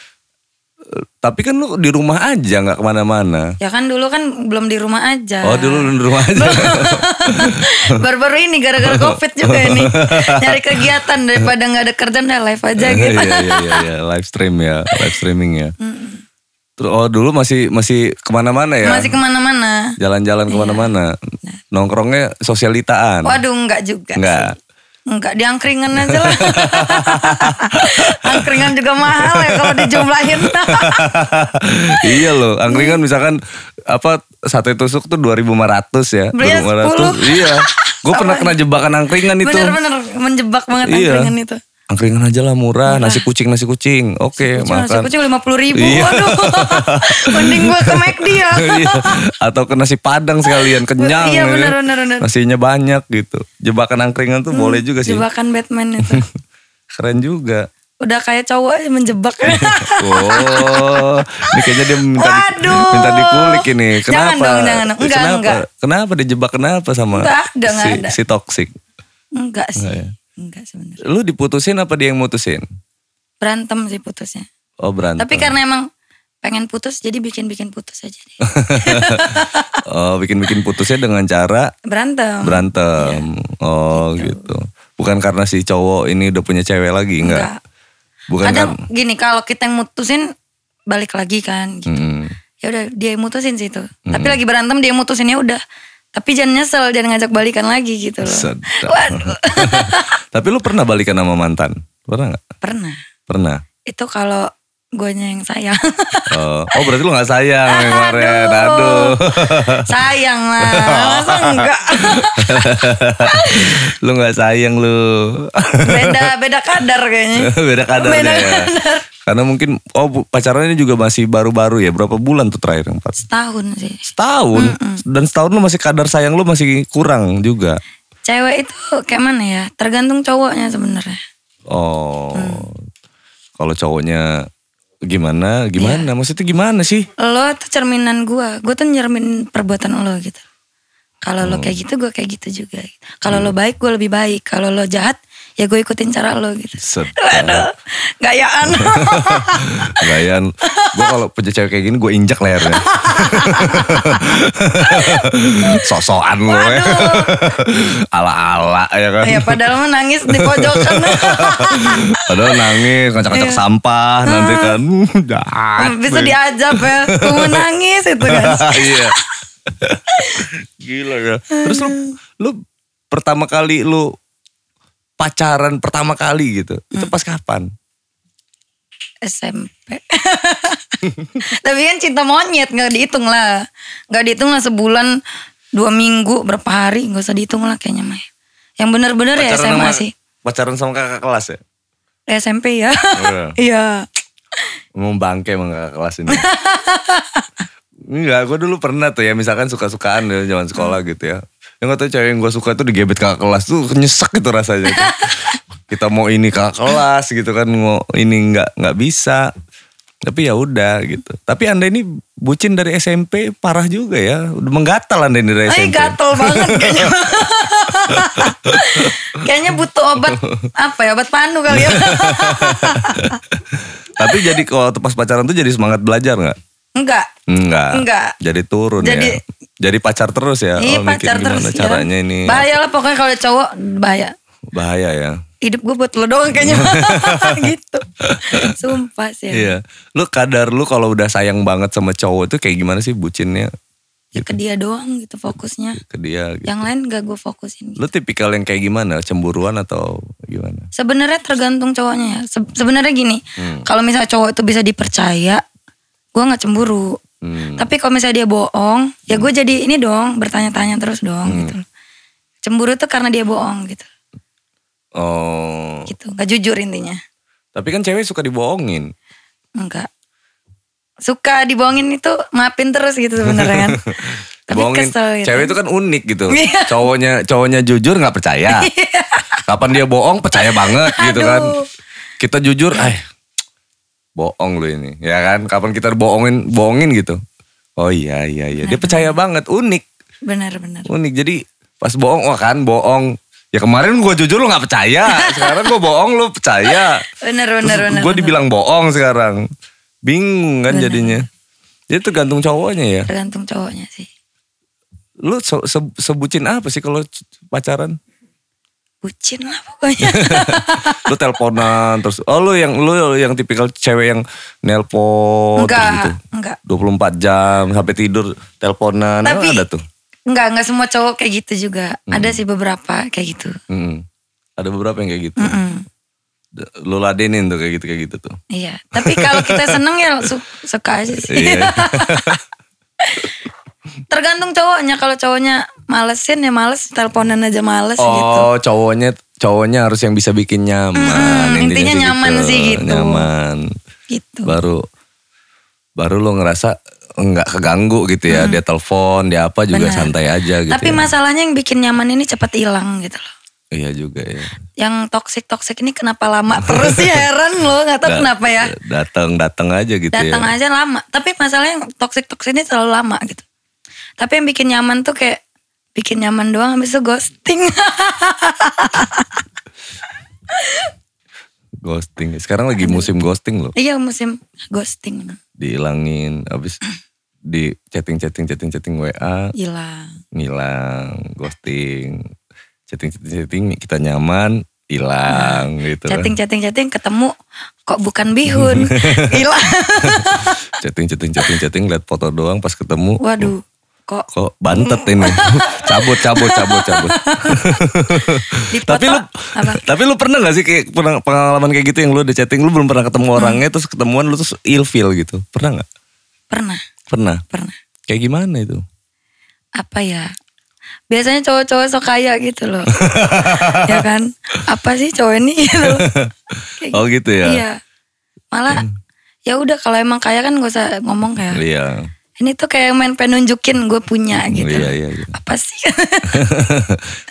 Speaker 1: Tapi kan lu di rumah aja nggak kemana-mana.
Speaker 2: Ya kan dulu kan belum di rumah aja.
Speaker 1: Oh dulu lu di rumah aja.
Speaker 2: [laughs] Baru-baru ini gara-gara covid juga ini. Nyari kegiatan daripada nggak ada kerjaan udah live aja
Speaker 1: Iya
Speaker 2: gitu.
Speaker 1: iya iya iya live stream ya, live streaming ya. Terus oh dulu masih masih kemana-mana ya.
Speaker 2: Masih kemana-mana.
Speaker 1: Jalan-jalan kemana-mana. Nongkrongnya sosialitaan.
Speaker 2: Waduh nggak juga.
Speaker 1: Nggak.
Speaker 2: sih. Nggak di angkringan aja lah. angkringan juga mahal ya kalau dijumlahin.
Speaker 1: [laughs] iya loh, angkringan misalkan apa sate tusuk tuh 2500 ya.
Speaker 2: Belinya 10.
Speaker 1: Iya. Gue
Speaker 2: [laughs]
Speaker 1: pernah kena jebakan angkringan itu.
Speaker 2: Bener-bener menjebak banget
Speaker 1: Iya.
Speaker 2: angkringan itu.
Speaker 1: Angkringan aja lah murah, nasi kucing nasi kucing. Oke,
Speaker 2: Cuma nasi
Speaker 1: makan.
Speaker 2: kucing lima puluh ribu,
Speaker 1: Iya.
Speaker 2: waduh. Mending gue ke McD ya.
Speaker 1: [laughs] Iya. Atau ke nasi padang sekalian kenyang. ya
Speaker 2: Iya,
Speaker 1: kan.
Speaker 2: benar, benar, benar.
Speaker 1: Nasinya banyak gitu. Jebakan angkringan tuh
Speaker 2: Hmm,
Speaker 1: boleh juga sih.
Speaker 2: Jebakan Batman itu.
Speaker 1: Keren juga.
Speaker 2: Udah kayak cowok aja menjebak.
Speaker 1: Iya. Oh, ini kayaknya dia minta di-
Speaker 2: Waduh.
Speaker 1: minta dikulik ini. Kenapa?
Speaker 2: Jangan dong, jangan dong. Enggak,
Speaker 1: kenapa?
Speaker 2: enggak.
Speaker 1: Kenapa dijebak kenapa sama
Speaker 2: Enggak ada, enggak
Speaker 1: si,
Speaker 2: ada.
Speaker 1: si toksik?
Speaker 2: Enggak sih.
Speaker 1: Enggak ya?
Speaker 2: Enggak sebenarnya.
Speaker 1: Lu diputusin apa dia yang mutusin?
Speaker 2: Berantem sih putusnya.
Speaker 1: Oh berantem.
Speaker 2: Tapi karena emang pengen putus jadi bikin-bikin putus aja deh.
Speaker 1: [laughs] Oh bikin-bikin putusnya dengan cara
Speaker 2: Berantem.
Speaker 1: berantem.
Speaker 2: Iya.
Speaker 1: Oh gitu. Bukan karena si cowok ini udah punya cewek lagi enggak?
Speaker 2: Enggak.
Speaker 1: Bukan
Speaker 2: Kadang
Speaker 1: karena-
Speaker 2: gini kalau kita yang mutusin balik lagi kan gitu.
Speaker 1: Mm.
Speaker 2: Ya udah dia yang mutusin sih itu.
Speaker 1: Hmm.
Speaker 2: Tapi lagi berantem dia yang mutusin ya udah. Tapi jangan nyesel, jangan ngajak balikan lagi gitu loh.
Speaker 1: Sedap. [laughs]
Speaker 2: Waduh.
Speaker 1: Tapi lu pernah balikan sama mantan? Pernah nggak?
Speaker 2: Pernah.
Speaker 1: Pernah.
Speaker 2: Itu kalau guanya yang sayang. [laughs]
Speaker 1: Oh, oh, berarti lu nggak sayang yang kemarin. Aduh. [laughs]
Speaker 2: sayang lah. Masa enggak? [laughs]
Speaker 1: lu nggak sayang lu. [laughs]
Speaker 2: Beda beda kadar kayaknya.
Speaker 1: Beda kadar
Speaker 2: Beda
Speaker 1: ya. Karena mungkin oh bu- pacarannya juga masih baru-baru ya. Berapa bulan tuh terakhir? Empat
Speaker 2: Setahun sih.
Speaker 1: setahun. Dan setahun lu masih kadar sayang lu masih kurang juga.
Speaker 2: Cewek itu kayak mana ya? Tergantung cowoknya sebenarnya.
Speaker 1: Oh. Kalau cowoknya gimana? Gimana? Maksudnya gimana sih?
Speaker 2: Lo tuh cerminan gua, gua tuh nyermin perbuatan lo gitu. Kalau lo kayak gitu, gua kayak gitu juga. Kalau lo baik, gua lebih baik. Kalau lo jahat, ya gue ikutin cara lo gitu.
Speaker 1: Sedap.
Speaker 2: Gayaan. [laughs]
Speaker 1: Gayan. Gue kalau punya cewek kayak gini gue injak lehernya. Sosokan lu ya. Ala-ala ya kan.
Speaker 2: ya padahal mah nangis di pojokan.
Speaker 1: Padahal nangis, ngacak-ngacak sampah nanti kan. [laughs] Jahat.
Speaker 2: Bisa diajak ya. Kamu nangis itu
Speaker 1: [laughs]
Speaker 2: kan.
Speaker 1: Iya. Gila ya. Terus lu lu pertama kali lu pacaran pertama kali gitu. Itu pas kapan?
Speaker 2: SMP. [laughs] Tapi kan cinta monyet nggak dihitung lah, nggak dihitung lah sebulan, dua minggu, berapa hari nggak usah dihitung lah kayaknya Mai. Yang bener-bener ya SMA
Speaker 1: sama
Speaker 2: sih,
Speaker 1: pacaran sama kakak kelas ya?
Speaker 2: SMP ya.
Speaker 1: Iya.
Speaker 2: [laughs] Iya.
Speaker 1: Emang bangke emang kakak kelas
Speaker 2: [laughs]
Speaker 1: ini. Enggak, gue dulu pernah tuh ya misalkan suka-sukaan dari zaman sekolah
Speaker 2: Hmm.
Speaker 1: gitu ya. Yang kata cewek yang gue suka tuh digebet kakak kelas tuh nyesek gitu rasanya.
Speaker 2: [laughs]
Speaker 1: tuh. Kita mau ini kakak kelas gitu kan mau ini nggak nggak bisa. Tapi ya udah gitu. Tapi anda ini bucin dari SMP parah juga ya. Udah menggatal anda ini dari
Speaker 2: Ay,
Speaker 1: SMP.
Speaker 2: gatel banget
Speaker 1: [laughs]
Speaker 2: kayaknya. kayaknya butuh obat apa ya obat pandu
Speaker 1: [laughs]
Speaker 2: kali ya.
Speaker 1: Tapi jadi kalau pas pacaran tuh jadi semangat belajar nggak?
Speaker 2: Enggak.
Speaker 1: Enggak.
Speaker 2: Enggak.
Speaker 1: Jadi turun ya.
Speaker 2: Jadi-
Speaker 1: Jadi pacar terus ya. Oh,
Speaker 2: Ini
Speaker 1: mikir
Speaker 2: pacar
Speaker 1: gimana
Speaker 2: terus ya.
Speaker 1: caranya ini.
Speaker 2: Bahaya lah pokoknya kalau cowok bahaya.
Speaker 1: Bahaya ya.
Speaker 2: Hidup gue buat lo
Speaker 1: [laughs]
Speaker 2: doang kayaknya gitu. Sumpah sih. ya.
Speaker 1: Iya. Lu kadar lu kalau udah sayang banget sama cowok tuh kayak gimana sih bucinnya
Speaker 2: ya ke dia doang gitu fokusnya
Speaker 1: ke dia gitu.
Speaker 2: yang lain gak gue fokusin
Speaker 1: Lu tipikal yang kayak gimana? Cemburuan atau gimana?
Speaker 2: sebenarnya tergantung cowoknya ya Se- sebenarnya gini
Speaker 1: Hmm.
Speaker 2: kalau misalnya cowok itu bisa dipercaya gue nggak cemburu
Speaker 1: Hmm.
Speaker 2: tapi kalau misalnya dia bohong ya gue jadi ini dong bertanya-tanya terus dong
Speaker 1: Hmm.
Speaker 2: gitu loh. cemburu tuh karena dia bohong gitu
Speaker 1: Oh.
Speaker 2: gitu nggak jujur intinya
Speaker 1: Tapi kan cewek suka dibohongin.
Speaker 2: enggak suka dibohongin itu maafin terus gitu
Speaker 1: [laughs]
Speaker 2: sebenarnya kan tapi
Speaker 1: Dibohongin.
Speaker 2: kesel gitu
Speaker 1: Cewek itu kan unik gitu.
Speaker 2: Iya.
Speaker 1: cowoknya cowoknya jujur nggak percaya. Kapan dia bohong percaya banget
Speaker 2: [laughs]
Speaker 1: gitu kan.
Speaker 2: Aduh.
Speaker 1: Kita jujur, eh bohong lu ini, ya kan? Kapan kita bohongin bohongin gitu. Oh iya iya iya. Dia percaya banget, unik.
Speaker 2: benar-benar
Speaker 1: unik jadi pas bohong wah kan bohong ya kemarin gue jujur lo nggak
Speaker 2: [laughs]
Speaker 1: percaya sekarang gue bohong lo percaya
Speaker 2: benar-benar
Speaker 1: gue dibilang bohong sekarang Bingung kan
Speaker 2: Bener.
Speaker 1: jadinya. Jadi tergantung cowoknya ya.
Speaker 2: tergantung cowoknya sih
Speaker 1: Lu se- se- sebucin apa sih kalau c- pacaran?
Speaker 2: bucin lah
Speaker 1: [laughs]
Speaker 2: pokoknya
Speaker 1: lu teleponan terus oh lu yang lu yang tipikal cewek yang nelpon terus gitu.
Speaker 2: enggak enggak
Speaker 1: 24 jam sampai tidur teleponan emang
Speaker 2: Tapi-
Speaker 1: ada tuh.
Speaker 2: enggak enggak semua cowok kayak gitu juga
Speaker 1: Hmm.
Speaker 2: ada sih beberapa kayak gitu
Speaker 1: Mm-mm. Ada beberapa yang kayak gitu.
Speaker 2: Mm-mm.
Speaker 1: Lu ladenin tuh kayak gitu kayak gitu tuh.
Speaker 2: iya tapi kalau kita seneng ya su- suka aja sih
Speaker 1: Iya.
Speaker 2: [laughs] tergantung cowoknya kalau cowoknya malesin ya males teleponan aja males [laughs] gitu
Speaker 1: Oh, cowoknya cowoknya harus yang bisa bikin nyaman.
Speaker 2: Mm-mm, intinya
Speaker 1: sih
Speaker 2: nyaman sih gitu.
Speaker 1: Nyaman.
Speaker 2: gitu
Speaker 1: Baru baru lu ngerasa nggak keganggu gitu ya. Dia telepon, dia apa juga
Speaker 2: Benar.
Speaker 1: santai aja gitu.
Speaker 2: tapi
Speaker 1: ya.
Speaker 2: masalahnya yang bikin nyaman ini cepat hilang gitu loh
Speaker 1: Iya juga ya.
Speaker 2: yang toksik toksik ini kenapa lama terus sih heran loh nggak tahu
Speaker 1: Da-
Speaker 2: kenapa ya
Speaker 1: Datang datang aja gitu
Speaker 2: datang
Speaker 1: ya.
Speaker 2: aja lama tapi masalahnya yang toxic toxic ini terlalu lama gitu tapi yang bikin nyaman tuh kayak bikin nyaman doang habis itu ghosting [laughs]
Speaker 1: Ghosting. Sekarang lagi musim ghosting loh.
Speaker 2: iya musim ghosting
Speaker 1: Dihilangin habis di chatting chatting chatting chatting WA
Speaker 2: hilang
Speaker 1: ngilang, ghosting. Chatting chatting chatting kita nyaman hilang gitu. kan.
Speaker 2: chatting chatting chatting ketemu kok bukan
Speaker 1: [laughs]
Speaker 2: bihun hilang
Speaker 1: chatting chatting chatting chatting lihat foto doang pas ketemu
Speaker 2: waduh kok
Speaker 1: kok bantet ini [laughs] cabut cabut cabut cabut
Speaker 2: di foto
Speaker 1: tapi lu
Speaker 2: apa
Speaker 1: tapi lu pernah gak sih kayak pernah- pengalaman kayak gitu yang lu udah chatting lu belum pernah ketemu
Speaker 2: Hmm.
Speaker 1: orangnya terus ketemuan lu terus ilfeel gitu pernah nggak
Speaker 2: pernah
Speaker 1: pernah
Speaker 2: pernah
Speaker 1: kayak gimana itu
Speaker 2: apa ya biasanya cowok-cowok sok kaya gitu
Speaker 1: [laughs]
Speaker 2: loh ya kan apa sih cowok ini gitu Kayak
Speaker 1: oh gitu [laughs] ya Hmm.
Speaker 2: iya malah ya udah kalau emang kaya kan gak usah ngomong ya
Speaker 1: iya
Speaker 2: ini tuh kayak main penunjukin gue punya gitu
Speaker 1: iya iya, iya. [laughs]
Speaker 2: apa sih [laughs]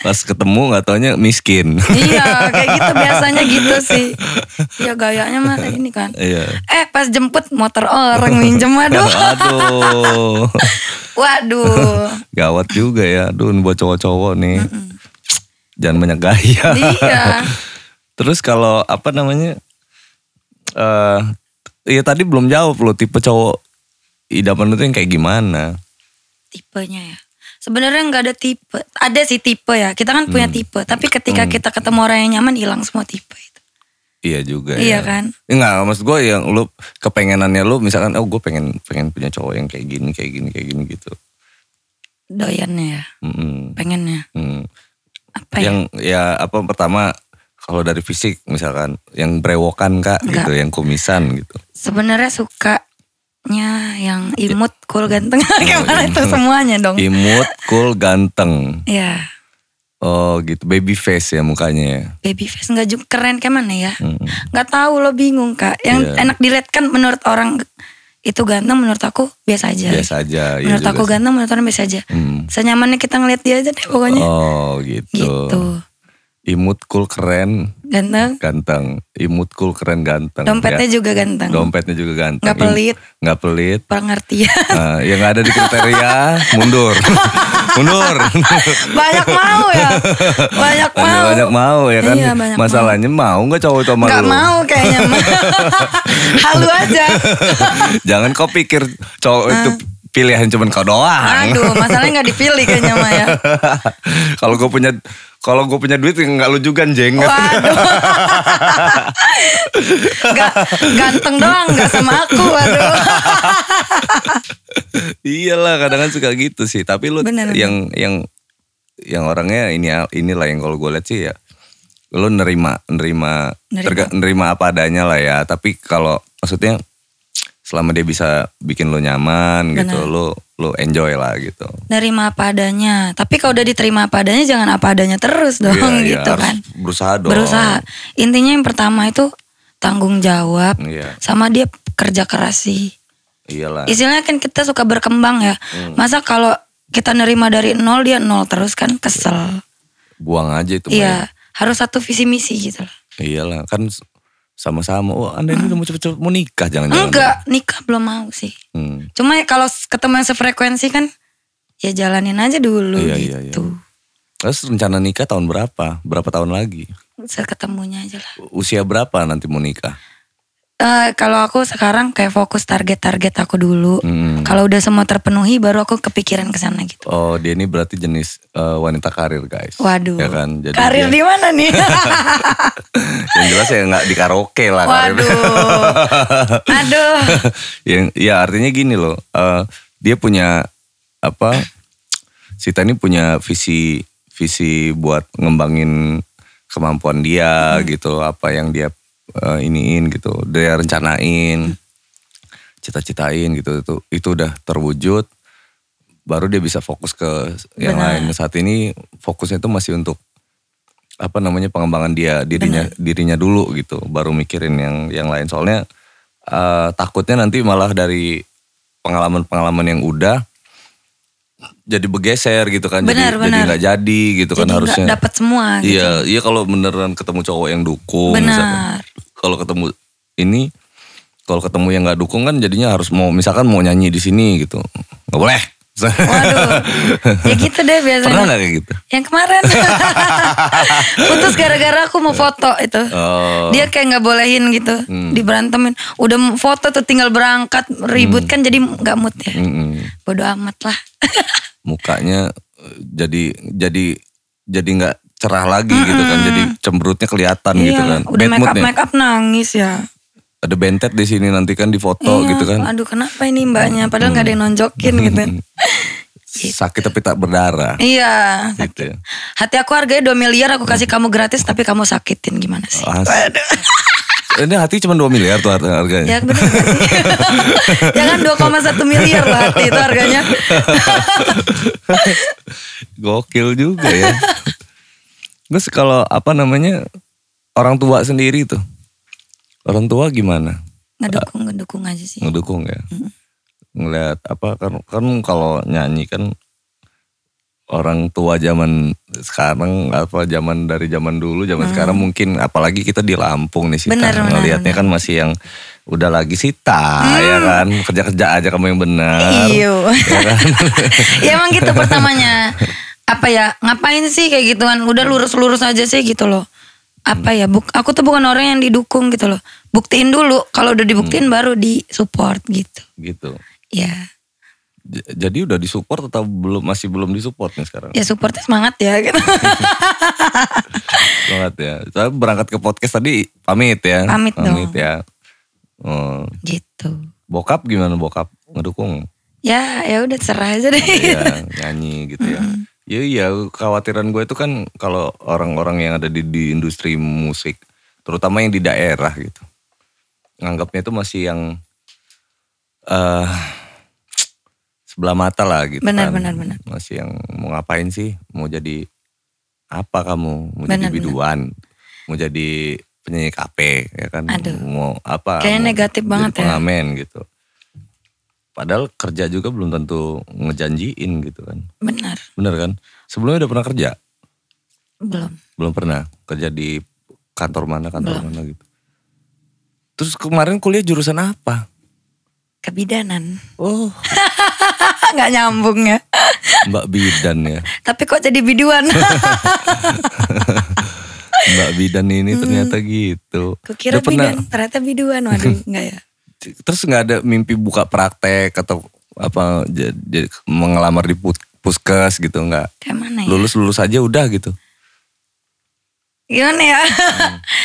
Speaker 1: pas ketemu nggak taunya miskin [laughs]
Speaker 2: iya kayak gitu biasanya gitu sih ya gayanya mah ini kan
Speaker 1: iya
Speaker 2: eh pas jemput motor orang minjem
Speaker 1: [laughs]
Speaker 2: aduh
Speaker 1: aduh
Speaker 2: waduh
Speaker 1: gawat juga ya aduh ini buat cowok-cowok nih jangan banyak gaya
Speaker 2: iya
Speaker 1: Terus kalau apa namanya? eh ya tadi belum jawab lo tipe cowok idaman lu tuh yang kayak gimana?
Speaker 2: tipenya ya sebenarnya nggak ada tipe ada sih tipe ya kita
Speaker 1: Hmm.
Speaker 2: kan punya tipe tapi ketika kita ketemu orang yang nyaman hilang semua tipe itu
Speaker 1: Iya juga ya.
Speaker 2: Iya kan?
Speaker 1: Enggak, maksud gue yang lu kepengenannya lu misalkan oh gue pengen pengen punya cowok yang kayak gini, kayak gini, kayak gini gitu.
Speaker 2: doyannya ya
Speaker 1: Mm-mm.
Speaker 2: pengennya
Speaker 1: Mm.
Speaker 2: apa ya
Speaker 1: Yang ya apa pertama kalau dari fisik misalkan yang brewokan Kak
Speaker 2: Enggak.
Speaker 1: gitu, yang kumisan gitu.
Speaker 2: sebenarnya sukanya yang imut cool ganteng [laughs]
Speaker 1: Iya,
Speaker 2: gimana itu semuanya dong
Speaker 1: Imut, cool, ganteng.
Speaker 2: ya
Speaker 1: Oh gitu, baby face ya mukanya ya.
Speaker 2: baby face nggak juga keren kayak mana ya
Speaker 1: Mm.
Speaker 2: nggak tahu lo bingung kak yang
Speaker 1: Iya.
Speaker 2: enak dilihat kan menurut orang itu ganteng menurut aku biasa aja
Speaker 1: Biasa aja iya
Speaker 2: Ya. menurut
Speaker 1: juga
Speaker 2: aku
Speaker 1: sih.
Speaker 2: ganteng menurut orang biasa aja
Speaker 1: Hmm.
Speaker 2: senyamannya kita ngeliat dia aja deh pokoknya
Speaker 1: Oh gitu.
Speaker 2: gitu
Speaker 1: Imut cool keren, Iya.
Speaker 2: ganteng
Speaker 1: ganteng. Imut cool keren ganteng.
Speaker 2: dompetnya
Speaker 1: ya.
Speaker 2: juga ganteng
Speaker 1: Dompetnya juga ganteng.
Speaker 2: Nggak
Speaker 1: Im-
Speaker 2: pelit.
Speaker 1: Nggak pelit. [laughs]
Speaker 2: pengertian
Speaker 1: Nah, yang nggak ada di kriteria
Speaker 2: [laughs]
Speaker 1: mundur, mundur.
Speaker 2: banyak mau ya banyak mau
Speaker 1: Banyak mau ya kan.
Speaker 2: Iya, banyak
Speaker 1: Masalahnya mau nggak cowok itu sama
Speaker 2: nggak
Speaker 1: lu?
Speaker 2: mau kayaknya [laughs] halu
Speaker 1: [laughs]
Speaker 2: aja
Speaker 1: Jangan kau pikir cowok itu pilihan cuman kau doang.
Speaker 2: Ah. aduh masalahnya nggak dipilih kayaknya ya. Maya
Speaker 1: [laughs] kalau gue punya kalau gue punya duit nggak lu juga jeng.
Speaker 2: waduh nggak ganteng doang nggak sama aku waduh
Speaker 1: Iyalah kadang kan suka gitu sih. Tapi lu
Speaker 2: Bener, bener.
Speaker 1: yang yang yang orangnya ini inilah yang kalau gue lihat sih ya lu nerima nerima
Speaker 2: Nerima.
Speaker 1: terga- nerima apa adanya lah ya. Tapi kalau maksudnya selama dia bisa bikin lu nyaman gitu,
Speaker 2: Bener.
Speaker 1: lu lu enjoy lah gitu.
Speaker 2: nerima apa adanya tapi kalau udah diterima apa adanya jangan apa adanya terus dong
Speaker 1: Iya, iya,
Speaker 2: gitu
Speaker 1: harus
Speaker 2: kan
Speaker 1: Berusaha dong.
Speaker 2: berusaha intinya yang pertama itu tanggung jawab
Speaker 1: Iya.
Speaker 2: sama dia kerja keras sih
Speaker 1: Iyalah.
Speaker 2: istilahnya kan kita suka berkembang ya
Speaker 1: Hmm.
Speaker 2: masa kalau kita nerima dari nol dia nol terus kan kesel
Speaker 1: Buang aja itu.
Speaker 2: iya harus satu visi misi gitu loh
Speaker 1: Maya. Iyalah kan s- sama-sama. Oh, Anda ini udah mau cepet-cepet mau nikah jangan-jangan.
Speaker 2: Hmm. enggak nikah belum mau sih
Speaker 1: Hmm.
Speaker 2: cuma kalau ketemu yang sefrekuensi kan ya jalanin aja dulu
Speaker 1: Iya, iya,
Speaker 2: gitu
Speaker 1: Terus rencana nikah tahun berapa? Berapa tahun lagi?
Speaker 2: Seketemunya aja lah
Speaker 1: Usia berapa nanti mau nikah?
Speaker 2: eh, kalau aku sekarang kayak fokus target-target aku dulu.
Speaker 1: Hmm.
Speaker 2: Kalau udah semua terpenuhi baru aku kepikiran ke sana gitu.
Speaker 1: Oh dia ini berarti jenis eh, wanita karir guys.
Speaker 2: Waduh.
Speaker 1: Ya kan. Jadi
Speaker 2: karir
Speaker 1: dia,
Speaker 2: di mana
Speaker 1: [laughs]
Speaker 2: nih?
Speaker 1: Yang jelas ya nggak di karaoke lah. karir.
Speaker 2: Waduh. Aduh.
Speaker 1: [laughs] yang ya artinya gini loh. eh, dia punya apa? Sita ini punya visi visi buat ngembangin kemampuan dia
Speaker 2: Hmm.
Speaker 1: gitu. Apa yang dia eh, iniin gitu. Dia rencanain, cita-citain gitu. Itu itu udah terwujud. Baru dia bisa fokus ke yang lain. Saat ini fokusnya itu masih untuk apa namanya pengembangan dia dirinya dirinya dulu gitu baru mikirin yang yang lain soalnya eh, takutnya nanti malah dari pengalaman-pengalaman yang udah jadi bergeser gitu kan jadi
Speaker 2: Benar,
Speaker 1: jadi
Speaker 2: benar.
Speaker 1: nggak jadi gitu kan
Speaker 2: Jadi nggak
Speaker 1: harusnya
Speaker 2: dapat semua gitu.
Speaker 1: iya iya kalau beneran ketemu cowok yang dukung
Speaker 2: Benar.
Speaker 1: misalkan. kalau ketemu ini kalau ketemu yang nggak dukung kan jadinya harus mau misalkan mau nyanyi di sini gitu nggak
Speaker 2: [laughs]
Speaker 1: boleh
Speaker 2: Waduh. Ya gitu deh biasanya.
Speaker 1: pernah nggak kayak gitu
Speaker 2: Yang
Speaker 1: [laughs]
Speaker 2: kemarin putus gara-gara aku mau foto itu.
Speaker 1: Oh. Hmm.
Speaker 2: Dia kayak nggak bolehin gitu, diberantemin. Udah mau foto tuh tinggal berangkat
Speaker 1: Hmm.
Speaker 2: ribut kan jadi nggak mood ya.
Speaker 1: Mm-mm.
Speaker 2: Bodoh amat lah.
Speaker 1: mukanya eh, jadi jadi jadi nggak cerah lagi gitu kan jadi cemberutnya kelihatan [laughs] gitu
Speaker 2: Iya,
Speaker 1: kan
Speaker 2: udah
Speaker 1: Bad
Speaker 2: make
Speaker 1: mood
Speaker 2: up
Speaker 1: nih.
Speaker 2: make up nangis ya.
Speaker 1: ada bentet di sini nanti kan di foto
Speaker 2: Iya,
Speaker 1: gitu kan Hmm.
Speaker 2: Aduh kenapa ini mbaknya? Padahal nggak ada yang nonjokin gitu.
Speaker 1: [laughs] sakit tapi tak berdarah
Speaker 2: Iya. sakit.
Speaker 1: gitu ya.
Speaker 2: Hati aku harganya 2 miliar aku kasih
Speaker 1: Hmm.
Speaker 2: kamu gratis tapi kamu sakitin gimana sih?
Speaker 1: As- ini hati cuma 2 miliar tuh harga- harganya
Speaker 2: Ya bener gak
Speaker 1: [laughs]
Speaker 2: sih? [laughs] Ya kan, Jangan 2,1 miliar loh hati itu
Speaker 1: [laughs]
Speaker 2: harganya.
Speaker 1: gokil juga ya terus kalau apa namanya orang tua sendiri tuh orang tua gimana
Speaker 2: Ngedukung, ngedukung aja sih.
Speaker 1: ngedukung ya ngelihat apa kan kan kalau nyanyi kan orang tua zaman sekarang apa zaman dari zaman dulu zaman sekarang mungkin apalagi kita di Lampung nih Sita
Speaker 2: Hmm. Benar, benar, Hmm.
Speaker 1: ngelihatnya kan masih yang udah lagi Sita ya kan kerja kerja aja kamu yang benar
Speaker 2: Iyo. [laughs] ya emang gitu pertamanya. Apa ya, ngapain sih kayak gituan? Udah lurus-lurus aja sih gitu loh. Apa ya, buk aku tuh bukan orang yang didukung gitu loh. Buktiin dulu, kalau udah dibuktiin baru di support gitu.
Speaker 1: gitu
Speaker 2: Ya,
Speaker 1: J- jadi udah disupport atau belum masih belum disupport nih sekarang
Speaker 2: ya supportnya semangat ya gitu. [laughs]
Speaker 1: banget ya Saya berangkat ke podcast tadi pamit ya
Speaker 2: Pamit dong.
Speaker 1: ya Hmm,
Speaker 2: gitu.
Speaker 1: bokap gimana bokap ngedukung
Speaker 2: Ya, ya udah serah aja deh.
Speaker 1: [laughs]
Speaker 2: [laughs]
Speaker 1: Iya nyanyi gitu ya. Ya iya khawatiran gue itu kan kalau orang-orang yang ada di, di industri musik, terutama yang di daerah gitu, nganggapnya itu masih yang eh sebelah mata lah gitu
Speaker 2: Benar,
Speaker 1: kan.
Speaker 2: benar, benar.
Speaker 1: Masih yang mau ngapain sih? Mau jadi apa kamu? Mau
Speaker 2: Benar,
Speaker 1: jadi
Speaker 2: benar.
Speaker 1: biduan? Mau jadi penyanyi kafe ya kan?
Speaker 2: Aduh.
Speaker 1: Mau apa?
Speaker 2: Kayaknya
Speaker 1: Mau
Speaker 2: negatif
Speaker 1: kan? jadi
Speaker 2: banget ya.
Speaker 1: Pengamen gitu. Padahal kerja juga belum tentu ngejanjiin gitu kan.
Speaker 2: Benar,
Speaker 1: Bener kan? Sebelumnya udah pernah kerja?
Speaker 2: belum.
Speaker 1: Belum pernah. Kerja di kantor mana, kantor mana gitu. Terus kemarin kuliah jurusan apa?
Speaker 2: Kebidanan. [laughs]
Speaker 1: Oh,
Speaker 2: nggak nyambung ya.
Speaker 1: Mbak Bidan ya.
Speaker 2: Tapi kok jadi biduan? [laughs]
Speaker 1: Mbak Bidan ini ternyata gitu.
Speaker 2: Hmm. Kukira
Speaker 1: Udah pernah,
Speaker 2: bidan, ternyata biduan. Waduh, nggak ya.
Speaker 1: Terus nggak ada mimpi buka praktek atau apa jadi, jadi mengelamar di put- puskes gitu nggak?
Speaker 2: Kayak mana ya?
Speaker 1: Lulus lulus aja udah gitu.
Speaker 2: Gimana ya?
Speaker 1: Hmm.
Speaker 2: [laughs]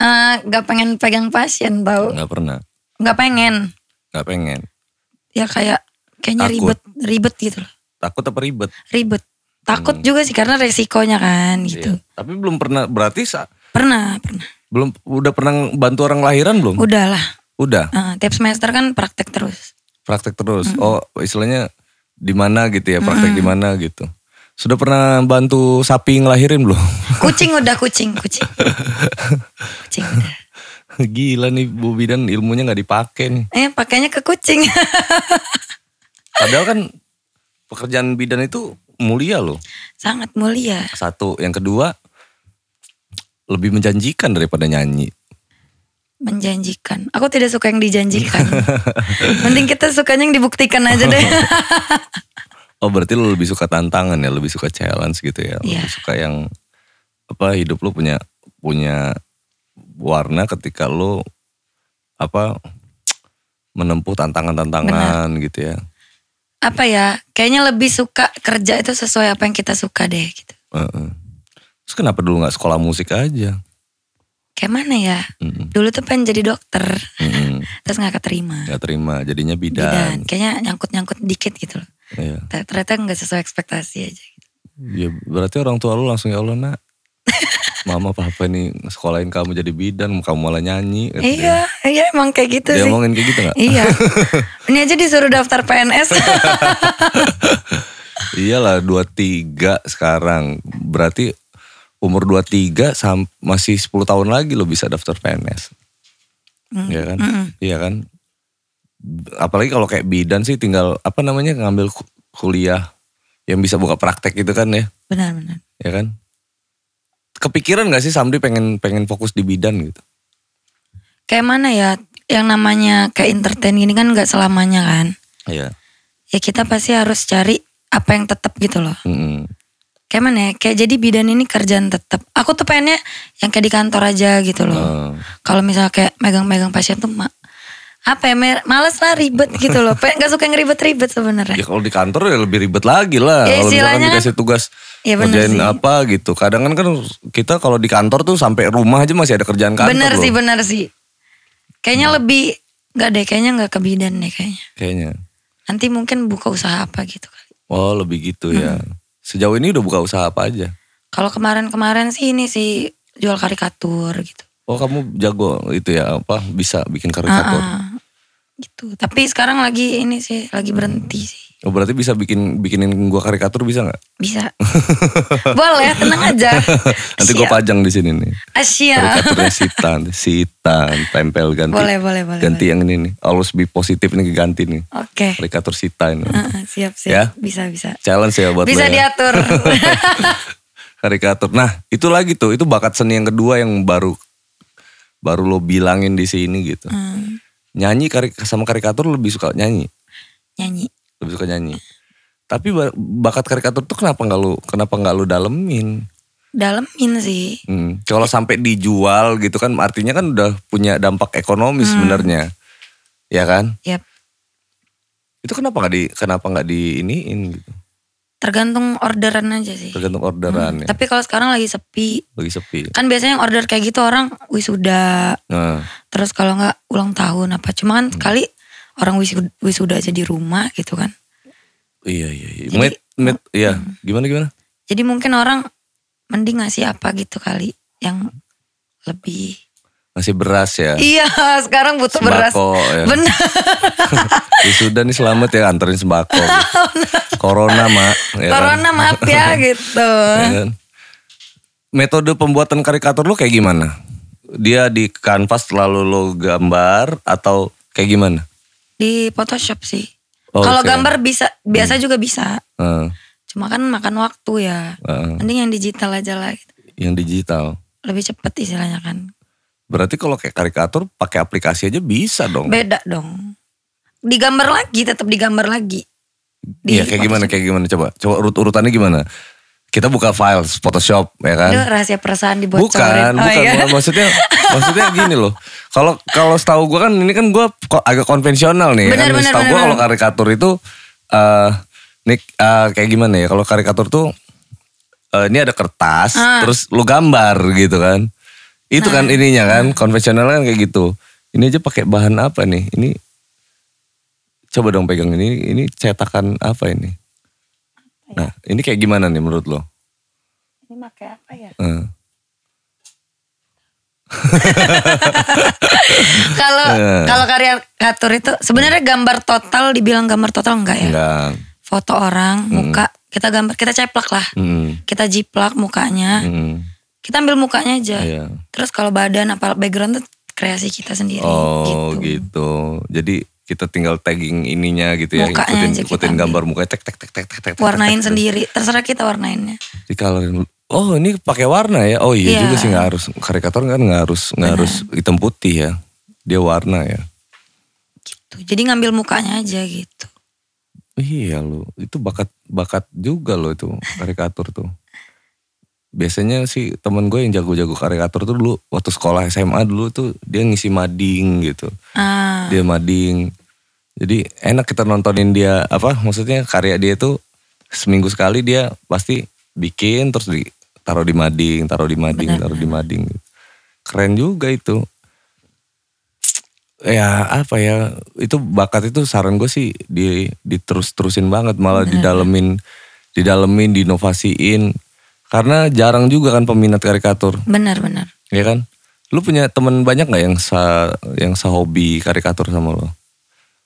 Speaker 2: Eh, nggak pengen pegang pasien bau.
Speaker 1: Nggak pernah.
Speaker 2: Nggak pengen.
Speaker 1: Nggak pengen.
Speaker 2: Ya kayak kayaknya
Speaker 1: Takut.
Speaker 2: ribet, ribet gitu loh.
Speaker 1: Takut apa ribet?
Speaker 2: Ribet. Takut juga sih karena resikonya kan
Speaker 1: Hmm.
Speaker 2: gitu.
Speaker 1: Iya. Tapi belum pernah berarti sa-
Speaker 2: Pernah, pernah.
Speaker 1: belum udah pernah bantu orang lahiran belum?
Speaker 2: Udahlah.
Speaker 1: Udah.
Speaker 2: Eh, tiap semester kan praktek terus.
Speaker 1: praktek terus. Oh, istilahnya di mana gitu ya, praktek di mana gitu. Sudah pernah bantu sapi ngelahirin belum? [laughs]
Speaker 2: Kucing udah kucing, kucing. Kucing udah.
Speaker 1: Gila nih Bu Bidan ilmunya nggak dipakai nih.
Speaker 2: Eh pakainya ke kucing. [laughs]
Speaker 1: Padahal kan pekerjaan bidan itu mulia loh.
Speaker 2: Sangat mulia.
Speaker 1: Satu, yang kedua lebih menjanjikan daripada nyanyi.
Speaker 2: menjanjikan. Aku tidak suka yang
Speaker 1: [laughs]
Speaker 2: dijanjikan. Mending kita sukanya yang dibuktikan aja deh.
Speaker 1: Oh, berarti lu lebih suka tantangan ya, lebih suka challenge gitu ya.
Speaker 2: Iya.
Speaker 1: Lebih suka yang apa hidup lu punya punya warna ketika lu apa menempuh tantangan-tantangan gitu ya.
Speaker 2: apa ya kayaknya lebih suka kerja itu sesuai apa yang kita suka deh gitu
Speaker 1: Heeh. Terus kenapa dulu nggak sekolah musik aja?
Speaker 2: kayak mana ya
Speaker 1: Mm-mm.
Speaker 2: dulu tuh pengen jadi dokter
Speaker 1: Mm-mm.
Speaker 2: terus nggak keterima
Speaker 1: Nggak terima, jadinya bidan.
Speaker 2: bidan kayaknya nyangkut nyangkut dikit gitu loh
Speaker 1: Iya.
Speaker 2: Ter- ternyata nggak sesuai ekspektasi aja
Speaker 1: Ya, berarti orang tua lu langsung ya Allah nak. Mama papa nih sekolahin kamu jadi bidan, kamu malah nyanyi. kata dia.
Speaker 2: iya iya emang kayak gitu
Speaker 1: Dia
Speaker 2: sih
Speaker 1: ngomongin kayak gitu gak? [laughs]
Speaker 2: iya ini aja disuruh daftar PNS
Speaker 1: Iya kan?
Speaker 2: [laughs]
Speaker 1: Iyalah 23 sekarang. Berarti umur 23 sam masih 10 tahun lagi lo bisa daftar PNS. Iya kan?
Speaker 2: Hmm.
Speaker 1: Iya kan? Apalagi kalau kayak bidan sih tinggal apa namanya ngambil ku- kuliah yang bisa buka praktek gitu kan ya.
Speaker 2: benar benar
Speaker 1: Ya kan? Kepikiran gak sih Samdi pengen pengen fokus di bidan gitu?
Speaker 2: kayak mana ya yang namanya kayak entertain gini kan nggak selamanya kan
Speaker 1: Iya.
Speaker 2: ya kita pasti harus cari apa yang tetap gitu loh
Speaker 1: Mm-mm.
Speaker 2: kayak mana ya kayak jadi bidan ini kerjaan tetap aku tuh pengennya yang kayak di kantor aja gitu loh
Speaker 1: Eh,
Speaker 2: kalau misalnya kayak megang-megang pasien tuh ma- apa ya mer- males lah ribet gitu loh pengen nggak suka yang
Speaker 1: Ya
Speaker 2: ribet-ribet sebenarnya
Speaker 1: kalau di kantor ya lebih ribet lagi lah.
Speaker 2: Ya,
Speaker 1: kalau misalkan
Speaker 2: istilahnya kan-
Speaker 1: dikasih tugas
Speaker 2: Ya, bener
Speaker 1: ngerjain
Speaker 2: sih.
Speaker 1: apa gitu. Kadang kan kan kita kalau di kantor tuh sampai rumah aja masih ada kerjaan kantor
Speaker 2: bener
Speaker 1: loh. Hmm.
Speaker 2: sih bener sih kayaknya lebih nggak deh kayaknya nggak ke bidan deh kayaknya
Speaker 1: Kayaknya.
Speaker 2: nanti mungkin buka usaha apa gitu kali
Speaker 1: Oh lebih gitu ya.
Speaker 2: Hmm.
Speaker 1: Sejauh ini udah buka usaha apa aja?
Speaker 2: kalau kemarin-kemarin sih ini sih jual karikatur gitu
Speaker 1: Oh kamu jago itu ya apa bisa bikin karikatur.
Speaker 2: Ah, ah. gitu tapi sekarang lagi ini sih lagi berhenti sih
Speaker 1: Oh, berarti bisa bikin bikinin gua karikatur bisa nggak? [laughs]
Speaker 2: bisa boleh tenang aja
Speaker 1: Nanti gua kan
Speaker 2: Siap.
Speaker 1: pajang di sini
Speaker 2: [laughs]
Speaker 1: nih.
Speaker 2: Ah, siap.
Speaker 1: Karikaturnya Sita, nanti. Sita tempel ganti.
Speaker 2: boleh boleh boleh
Speaker 1: ganti yang ini nih. Always be positif nih ganti nih.
Speaker 2: boleh. oke
Speaker 1: Karikatur Sita ini.
Speaker 2: Heeh, siap siap
Speaker 1: Ya?
Speaker 2: bisa bisa
Speaker 1: Challenge ya buat
Speaker 2: Ah. bisa
Speaker 1: lo ya. [laughs]
Speaker 2: diatur
Speaker 1: karikatur. Nah, itu lagi tuh, itu bakat seni yang kedua yang baru baru lo bilangin di sini gitu.
Speaker 2: Hmm,
Speaker 1: Nyanyi kari- sama karikatur lo lebih suka nyanyi,
Speaker 2: nyanyi
Speaker 1: lebih suka nyanyi. Tapi ba- bakat karikatur tuh kenapa nggak lo kenapa nggak lo dalemin?
Speaker 2: dalemin sih
Speaker 1: Hmm, Kalau sampai dijual gitu kan artinya kan udah punya dampak ekonomi
Speaker 2: Hmm.
Speaker 1: sebenarnya. Ya kan?
Speaker 2: ya
Speaker 1: Itu kenapa nggak di kenapa nggak di iniin gitu.
Speaker 2: tergantung orderan aja sih
Speaker 1: Tergantung orderan ya.
Speaker 2: tapi kalau sekarang lagi sepi
Speaker 1: Lagi sepi.
Speaker 2: kan biasanya yang order kayak gitu orang wisuda
Speaker 1: Nah,
Speaker 2: terus kalau nggak ulang tahun apa cuma kan
Speaker 1: Hmm.
Speaker 2: sekali orang wisuda, wisuda aja di rumah gitu kan
Speaker 1: iya iya iya.
Speaker 2: Jadi- Hmm.
Speaker 1: Met, met, iya. Gimana gimana?
Speaker 2: jadi mungkin orang mending ngasih apa gitu kali yang lebih
Speaker 1: Masih beras ya.
Speaker 2: iya sekarang butuh beras
Speaker 1: sembako ya.
Speaker 2: bener
Speaker 1: Wisuda nih selamat ya anterin sembako.
Speaker 2: [laughs]
Speaker 1: Corona mak. ya kan?
Speaker 2: corona maaf
Speaker 1: [laughs]
Speaker 2: ya gitu
Speaker 1: Ya kan? Metode pembuatan karikatur lo kayak gimana? Dia di kanvas lalu lo gambar atau kayak gimana?
Speaker 2: di Photoshop sih
Speaker 1: Oh,
Speaker 2: kalau
Speaker 1: oke. Hmm.
Speaker 2: gambar bisa biasa juga bisa
Speaker 1: Eh,
Speaker 2: cuma kan makan waktu ya
Speaker 1: eh,
Speaker 2: mending yang digital aja lah gitu.
Speaker 1: yang digital.
Speaker 2: lebih cepet istilahnya kan
Speaker 1: Berarti kalau kayak karikatur pakai aplikasi aja bisa dong.
Speaker 2: beda dong digambar lagi tetap digambar lagi
Speaker 1: Iya kayak gimana kayak gimana coba. Coba urut-urutannya gimana? Kita buka file Photoshop ya kan.
Speaker 2: Aduh, rahasia perusahaan dibocorin
Speaker 1: Bukan,
Speaker 2: Oh,
Speaker 1: bukan,
Speaker 2: iya.
Speaker 1: bukan.
Speaker 2: [laughs]
Speaker 1: maksudnya maksudnya gini loh. Kalau kalau setahu gue kan ini kan gue agak konvensional nih.
Speaker 2: Benar,
Speaker 1: kan.
Speaker 2: benar,
Speaker 1: setahu gue
Speaker 2: benar.
Speaker 1: kalau karikatur itu eh nik eh, kayak gimana ya? Kalau karikatur tuh eh, ini ada kertas,
Speaker 2: Ah.
Speaker 1: terus lu gambar gitu kan. Itu kan ininya kan,
Speaker 2: Ah.
Speaker 1: konvensional kan kayak gitu. Ini aja pakai bahan apa nih? Ini coba dong pegang ini. Ini cetakan apa ini? Nah, ini kayak gimana nih menurut lo?
Speaker 2: ini pakai apa ya
Speaker 1: Eh. [laughs]
Speaker 2: kalau
Speaker 1: Eh.
Speaker 2: kalau karikatur itu sebenarnya gambar total dibilang gambar total enggak ya
Speaker 1: Enggak. Hmm.
Speaker 2: foto orang muka kita gambar kita ceplak lah
Speaker 1: Mm,
Speaker 2: kita jiplak mukanya
Speaker 1: mm,
Speaker 2: kita ambil mukanya aja
Speaker 1: iya.
Speaker 2: terus kalau badan apa background tuh kreasi kita sendiri
Speaker 1: Oh gitu.
Speaker 2: gitu
Speaker 1: Jadi kita tinggal tagging ininya gitu ya,
Speaker 2: Mukanya
Speaker 1: ikutin,
Speaker 2: aja kita
Speaker 1: ikutin
Speaker 2: ambil.
Speaker 1: gambar mukanya tek tek tek tek tek. tek, tek,
Speaker 2: warnain
Speaker 1: tek, tek.
Speaker 2: sendiri terserah kita warnainnya
Speaker 1: Jadi kalau yang- oh ini pakai warna ya? Oh iya
Speaker 2: Iya.
Speaker 1: juga sih nggak harus karikatur kan nggak harus nggak harus hitam putih ya, dia warna ya.
Speaker 2: gitu jadi ngambil mukanya aja gitu
Speaker 1: Iya lo, itu bakat bakat juga lo itu karikatur tuh. biasanya sih temen gue yang jago-jago karikatur tuh dulu waktu sekolah SMA dulu tuh dia ngisi mading gitu
Speaker 2: Ah,
Speaker 1: dia mading jadi enak kita nontonin dia apa maksudnya karya dia tuh seminggu sekali dia pasti bikin terus ditaruh di mading taruh di mading taruh di mading gitu. keren juga itu ya apa ya itu bakat itu saran gue sih di diterus terusin banget malah didalemin didalemin diinovasiin karena jarang juga kan peminat karikatur
Speaker 2: benar-benar.
Speaker 1: Iya kan? Lu punya temen banyak nggak yang sa yang sehobi karikatur sama lo?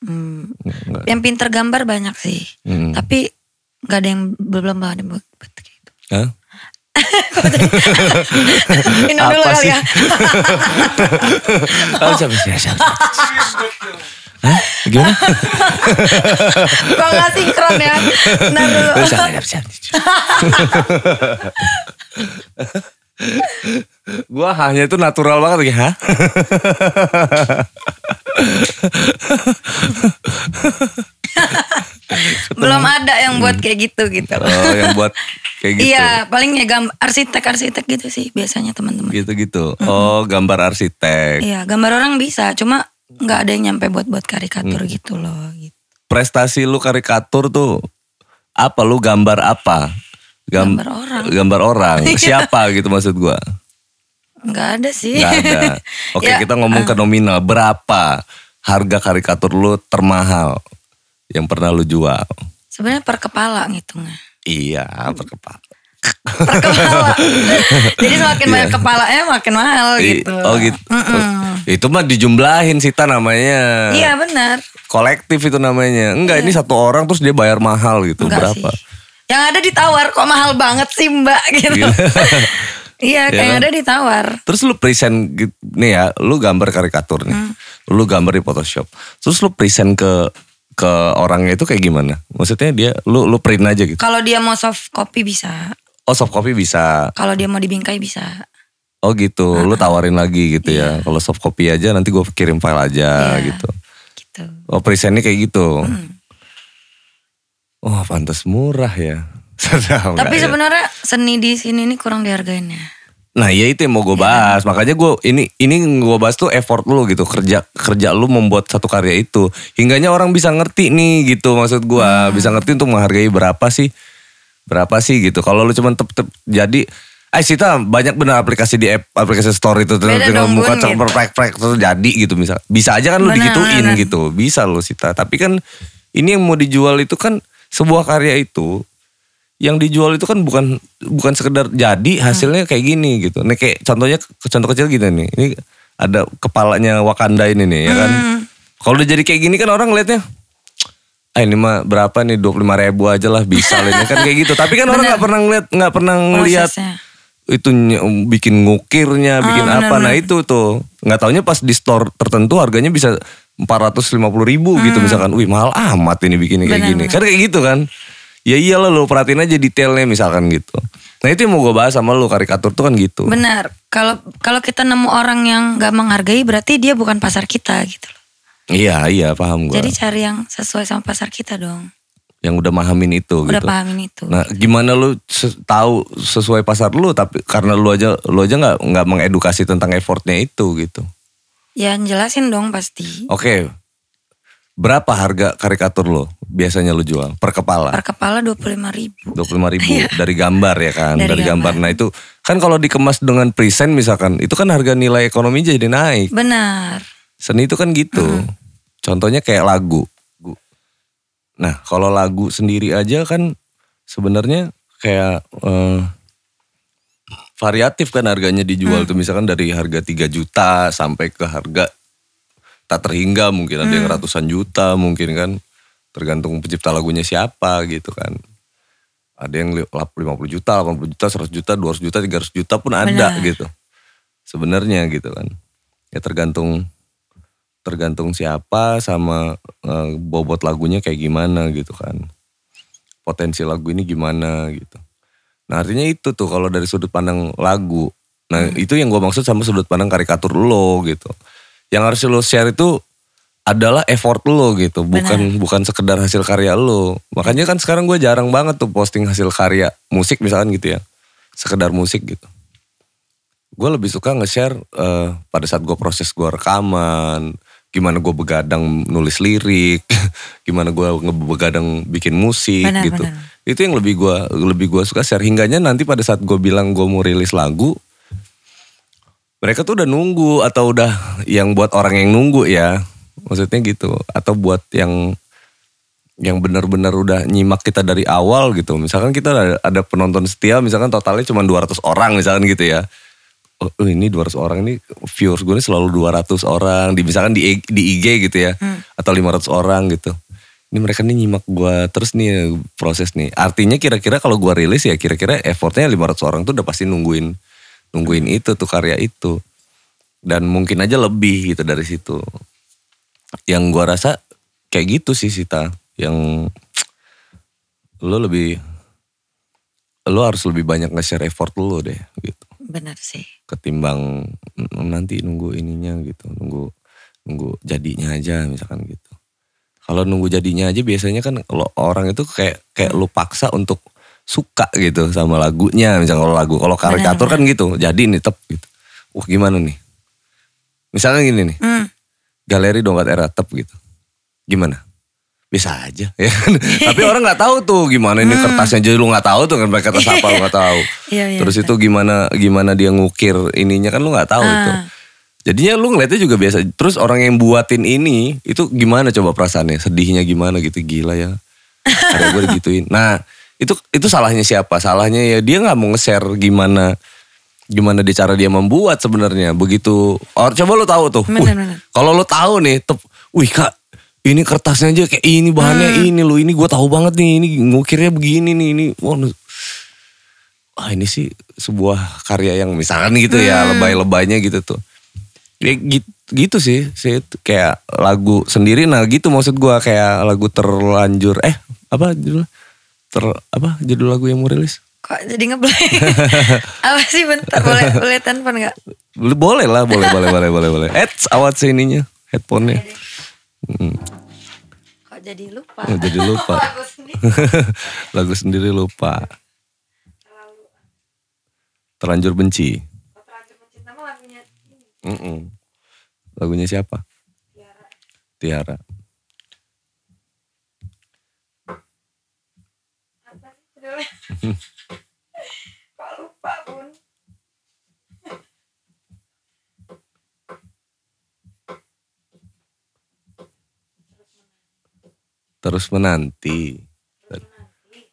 Speaker 2: Hmm.
Speaker 1: Nggak- nggak.
Speaker 2: Yang pinter gambar banyak sih,
Speaker 1: Hmm.
Speaker 2: tapi nggak ada yang belum ada yang buat buat
Speaker 1: [laughs]
Speaker 2: gitu. [laughs]
Speaker 1: Hah?
Speaker 2: Minum dulu
Speaker 1: Apa
Speaker 2: kali
Speaker 1: sih?
Speaker 2: ya.
Speaker 1: Oh, siapa sih? Siapa? Hah? Gimana?
Speaker 2: Kok nggak sinkron ya? Bentar dulu. [laughs]
Speaker 1: Oh, siapa? Siapa? Siapa? Gua hanya itu natural banget ya, hah?
Speaker 2: Belum ada yang buat kayak gitu gitu.
Speaker 1: Oh, yang buat kayak gitu.
Speaker 2: Iya, paling ya gambar arsitek-arsitek gitu sih biasanya teman-teman.
Speaker 1: Gitu-gitu. gitu, Oh, gambar arsitek.
Speaker 2: Iya, gambar orang bisa, cuma nggak ada yang nyampe buat buat karikatur
Speaker 1: Hmm.
Speaker 2: gitu loh. Gitu.
Speaker 1: Prestasi lu karikatur tuh apa lu gambar apa? Gam-
Speaker 2: Gambar orang. Iya.
Speaker 1: Gambar
Speaker 2: [laughs]
Speaker 1: orang. Siapa gitu maksud gua?
Speaker 2: Nggak ada sih.
Speaker 1: Gak ada. Oke,
Speaker 2: Iya. Ya,
Speaker 1: kita ngomong ke nominal. Berapa harga karikatur lu termahal yang pernah lu jual?
Speaker 2: [laughs] Sebenarnya per kepala ngitungnya.
Speaker 1: Iya, per kepala.
Speaker 2: Per kepala.
Speaker 1: [laughs]
Speaker 2: Jadi semakin banyak kepalanya makin
Speaker 1: Iya.
Speaker 2: mahal
Speaker 1: I-
Speaker 2: gitu.
Speaker 1: Oh gitu. Itu mah dijumlahin Sita namanya.
Speaker 2: Iya benar.
Speaker 1: Kolektif itu namanya. Enggak, ini satu orang terus dia bayar mahal gitu.
Speaker 2: Enggak
Speaker 1: Berapa?
Speaker 2: sih. Yang ada ditawar kok mahal banget sih mbak [laughs] gitu. Iya, kayak
Speaker 1: kan?
Speaker 2: yang ada ditawar.
Speaker 1: Terus lu present gitu- nih ya, lu gambar karikatur
Speaker 2: Mm.
Speaker 1: nih. Lu gambar di Photoshop. Terus lu present ke ke orangnya itu kayak gimana? Maksudnya dia lu lu print aja gitu.
Speaker 2: Kalau dia mau soft copy bisa.
Speaker 1: Oh, soft copy bisa.
Speaker 2: Kalau dia mau dibingkai bisa.
Speaker 1: Oh gitu, lu tawarin lagi gitu ya. Kalau soft copy aja nanti gue kirim file aja
Speaker 2: Iya. Mm.
Speaker 1: gitu.
Speaker 2: Gitu.
Speaker 1: Oh presentnya kayak gitu. Wah pantas murah ya. [laughs] Sedang
Speaker 2: Tapi
Speaker 1: nggak ya?
Speaker 2: sebenarnya seni di sini ini kurang dihargain ya.
Speaker 1: Nah ya itu yang mau
Speaker 2: Iya.
Speaker 1: gue bahas. Makanya gue ini ini gue bahas tuh effort lu gitu kerja kerja lu membuat satu karya itu hingganya orang bisa ngerti nih gitu maksud gue
Speaker 2: Ah.
Speaker 1: bisa ngerti untuk menghargai berapa sih berapa sih gitu. Kalau lu cuman tep, tep jadi Eh Sita banyak bener aplikasi di app, aplikasi store itu terus
Speaker 2: Beda
Speaker 1: tinggal
Speaker 2: dong,
Speaker 1: muka
Speaker 2: Bun,
Speaker 1: cek
Speaker 2: gitu.
Speaker 1: prek prek terus jadi gitu misal. Bisa aja kan lu
Speaker 2: Bener,
Speaker 1: digituin
Speaker 2: bener.
Speaker 1: gitu. Bisa lu Sita. Tapi kan ini yang mau dijual itu kan sebuah karya itu yang dijual itu kan bukan bukan sekedar jadi
Speaker 2: Hmm.
Speaker 1: hasilnya kayak gini gitu. Nih kayak contohnya contoh kecil gitu nih. Ini ada kepalanya Wakanda ini nih ya kan.
Speaker 2: Hmm.
Speaker 1: Kalau udah jadi kayak gini kan orang liatnya ah ini mah berapa nih 25 ribu aja lah bisa lah ini kan kayak gitu. Tapi kan orang nggak pernah ngeliat nggak pernah ngeliat
Speaker 2: Prosesnya.
Speaker 1: itu ny- bikin ngukirnya,
Speaker 2: Ah,
Speaker 1: bikin apa. Nah itu tuh nggak taunya pas di store tertentu harganya bisa 450
Speaker 2: Ah.
Speaker 1: ribu gitu misalkan. Wih mahal amat ini bikinnya kayak gini. Kan kayak gitu kan. Ya iyalah lo perhatiin aja detailnya misalkan gitu. Nah itu yang mau gue bahas sama lo karikatur tuh kan gitu.
Speaker 2: Benar. Kalau kalau kita nemu orang yang gak menghargai berarti dia bukan pasar kita gitu loh.
Speaker 1: Iya iya paham gue.
Speaker 2: Jadi cari yang sesuai sama pasar kita dong.
Speaker 1: Yang udah pahamin itu
Speaker 2: Udah
Speaker 1: gitu.
Speaker 2: pahamin itu.
Speaker 1: Nah, gimana lu se- tahu sesuai pasar lu tapi karena lu aja lu aja nggak nggak mengedukasi tentang effortnya itu gitu.
Speaker 2: Ya jelasin dong pasti.
Speaker 1: Oke. Berapa harga karikatur lu biasanya lu jual per kepala?
Speaker 2: Per kepala 25.000 ribu.
Speaker 1: 25.000 dari gambar ya kan, dari,
Speaker 2: Dari
Speaker 1: gambar. Nah, itu kan kalau dikemas dengan present misalkan, itu kan harga nilai ekonomi jadi naik.
Speaker 2: Benar.
Speaker 1: Seni itu kan gitu. Contohnya kayak lagu. Nah, kalau lagu sendiri aja kan sebenarnya kayak eh, variatif kan harganya dijual tuh misalkan dari harga 3 juta sampai ke harga tak terhingga mungkin ada yang ratusan juta mungkin kan tergantung pencipta lagunya siapa gitu kan. Ada yang li- lap- 50 juta, 80 juta, 100 juta, 200 juta, 300 juta pun ada gitu. Sebenarnya gitu kan. Ya tergantung tergantung siapa sama eh, bobot lagunya kayak gimana gitu kan potensi lagu ini gimana gitu nah artinya itu tuh kalau dari sudut pandang lagu nah itu yang gue maksud sama sudut pandang karikatur lo gitu yang harus lo share itu adalah effort lo gitu bukan bukan sekedar hasil karya lo makanya kan sekarang gue jarang banget tuh posting hasil karya musik misalkan gitu ya sekedar musik gitu. Gue lebih suka nge-share eh, pada saat gue proses gue rekaman, gimana gue begadang nulis lirik, [laughs] gimana gue begadang bikin musik
Speaker 2: Benar,
Speaker 1: gitu.
Speaker 2: benar.
Speaker 1: Itu yang lebih gue lebih gua suka share. Hingganya nanti pada saat gue bilang gue mau rilis lagu, mereka tuh udah nunggu atau udah yang buat orang yang nunggu ya maksudnya gitu atau buat yang yang benar-benar udah nyimak kita dari awal gitu misalkan kita ada, ada penonton setia misalkan totalnya cuma 200 orang misalkan gitu ya oh, eh, ini 200 orang ini viewers gue ini selalu 200 orang di misalkan di, I- di IG gitu ya atau 500 orang gitu ini mereka nih nyimak gue terus nih proses nih artinya kira-kira kalau gue rilis ya kira-kira effortnya 500 orang tuh udah pasti nungguin nungguin itu tuh karya itu dan mungkin aja lebih gitu dari situ yang gua rasa kayak gitu sih Sita yang lo lebih lo harus lebih banyak nge-share effort lo deh gitu
Speaker 2: Benar sih.
Speaker 1: ketimbang mm, nanti nunggu ininya gitu nunggu nunggu jadinya aja misalkan gitu kalau nunggu jadinya aja biasanya kan kalau orang itu kayak kayak lu paksa untuk suka gitu sama lagunya misalnya kalau lagu kalau karikatur kan gitu jadi nih tep gitu wah gimana nih misalnya gini nih
Speaker 2: Hmm.
Speaker 1: galeri dongkat era tep gitu gimana bisa aja [laughs] ya kan? tapi orang nggak tahu tuh gimana ini kertasnya jadi lu nggak tahu tuh kan pakai kertas apa lu
Speaker 2: [laughs]
Speaker 1: nggak tahu
Speaker 2: Hmm. Iya, iya,
Speaker 1: terus itu gimana gimana dia ngukir ininya kan lu nggak tahu itu
Speaker 2: Ah.
Speaker 1: jadinya lu ngeliatnya juga biasa terus orang yang buatin ini itu gimana coba perasaannya sedihnya gimana gitu gila ya ada gue digituin nah itu itu salahnya siapa salahnya ya dia nggak mau nge-share gimana gimana dia cara dia membuat sebenarnya begitu or coba lu tahu tuh
Speaker 2: Bener,
Speaker 1: Wih,
Speaker 2: bener.
Speaker 1: kalau lo tahu nih, tep, wih kak, ini kertasnya aja kayak ini bahannya
Speaker 2: Hmm.
Speaker 1: ini lo, ini gue tahu banget nih, ini ngukirnya begini nih, ini, wah, nu- ah, ini sih sebuah karya yang misalkan gitu ya,
Speaker 2: Hmm.
Speaker 1: lebay-lebaynya gitu tuh. Ya, gitu, gitu sih, sih, itu kayak lagu sendiri, nah gitu maksud gue kayak lagu terlanjur, eh apa judul, ter apa judul lagu yang mau rilis?
Speaker 2: Kok jadi ngeplay? Apa sih bentar boleh boleh telepon nggak?
Speaker 1: Lu Boleh lah, boleh, boleh, boleh, boleh, boleh. Eh, awat sininya, headphone-nya.
Speaker 2: Kok jadi lupa?
Speaker 1: Oh, jadi lupa.
Speaker 2: Lagu sendiri.
Speaker 1: [laughs] Lagu sendiri lupa. Terlanjur benci.
Speaker 2: Oh,
Speaker 1: Mm-mm. Lagunya siapa? Tiara. [laughs]
Speaker 2: Kok lupa bun?
Speaker 1: Terus menanti.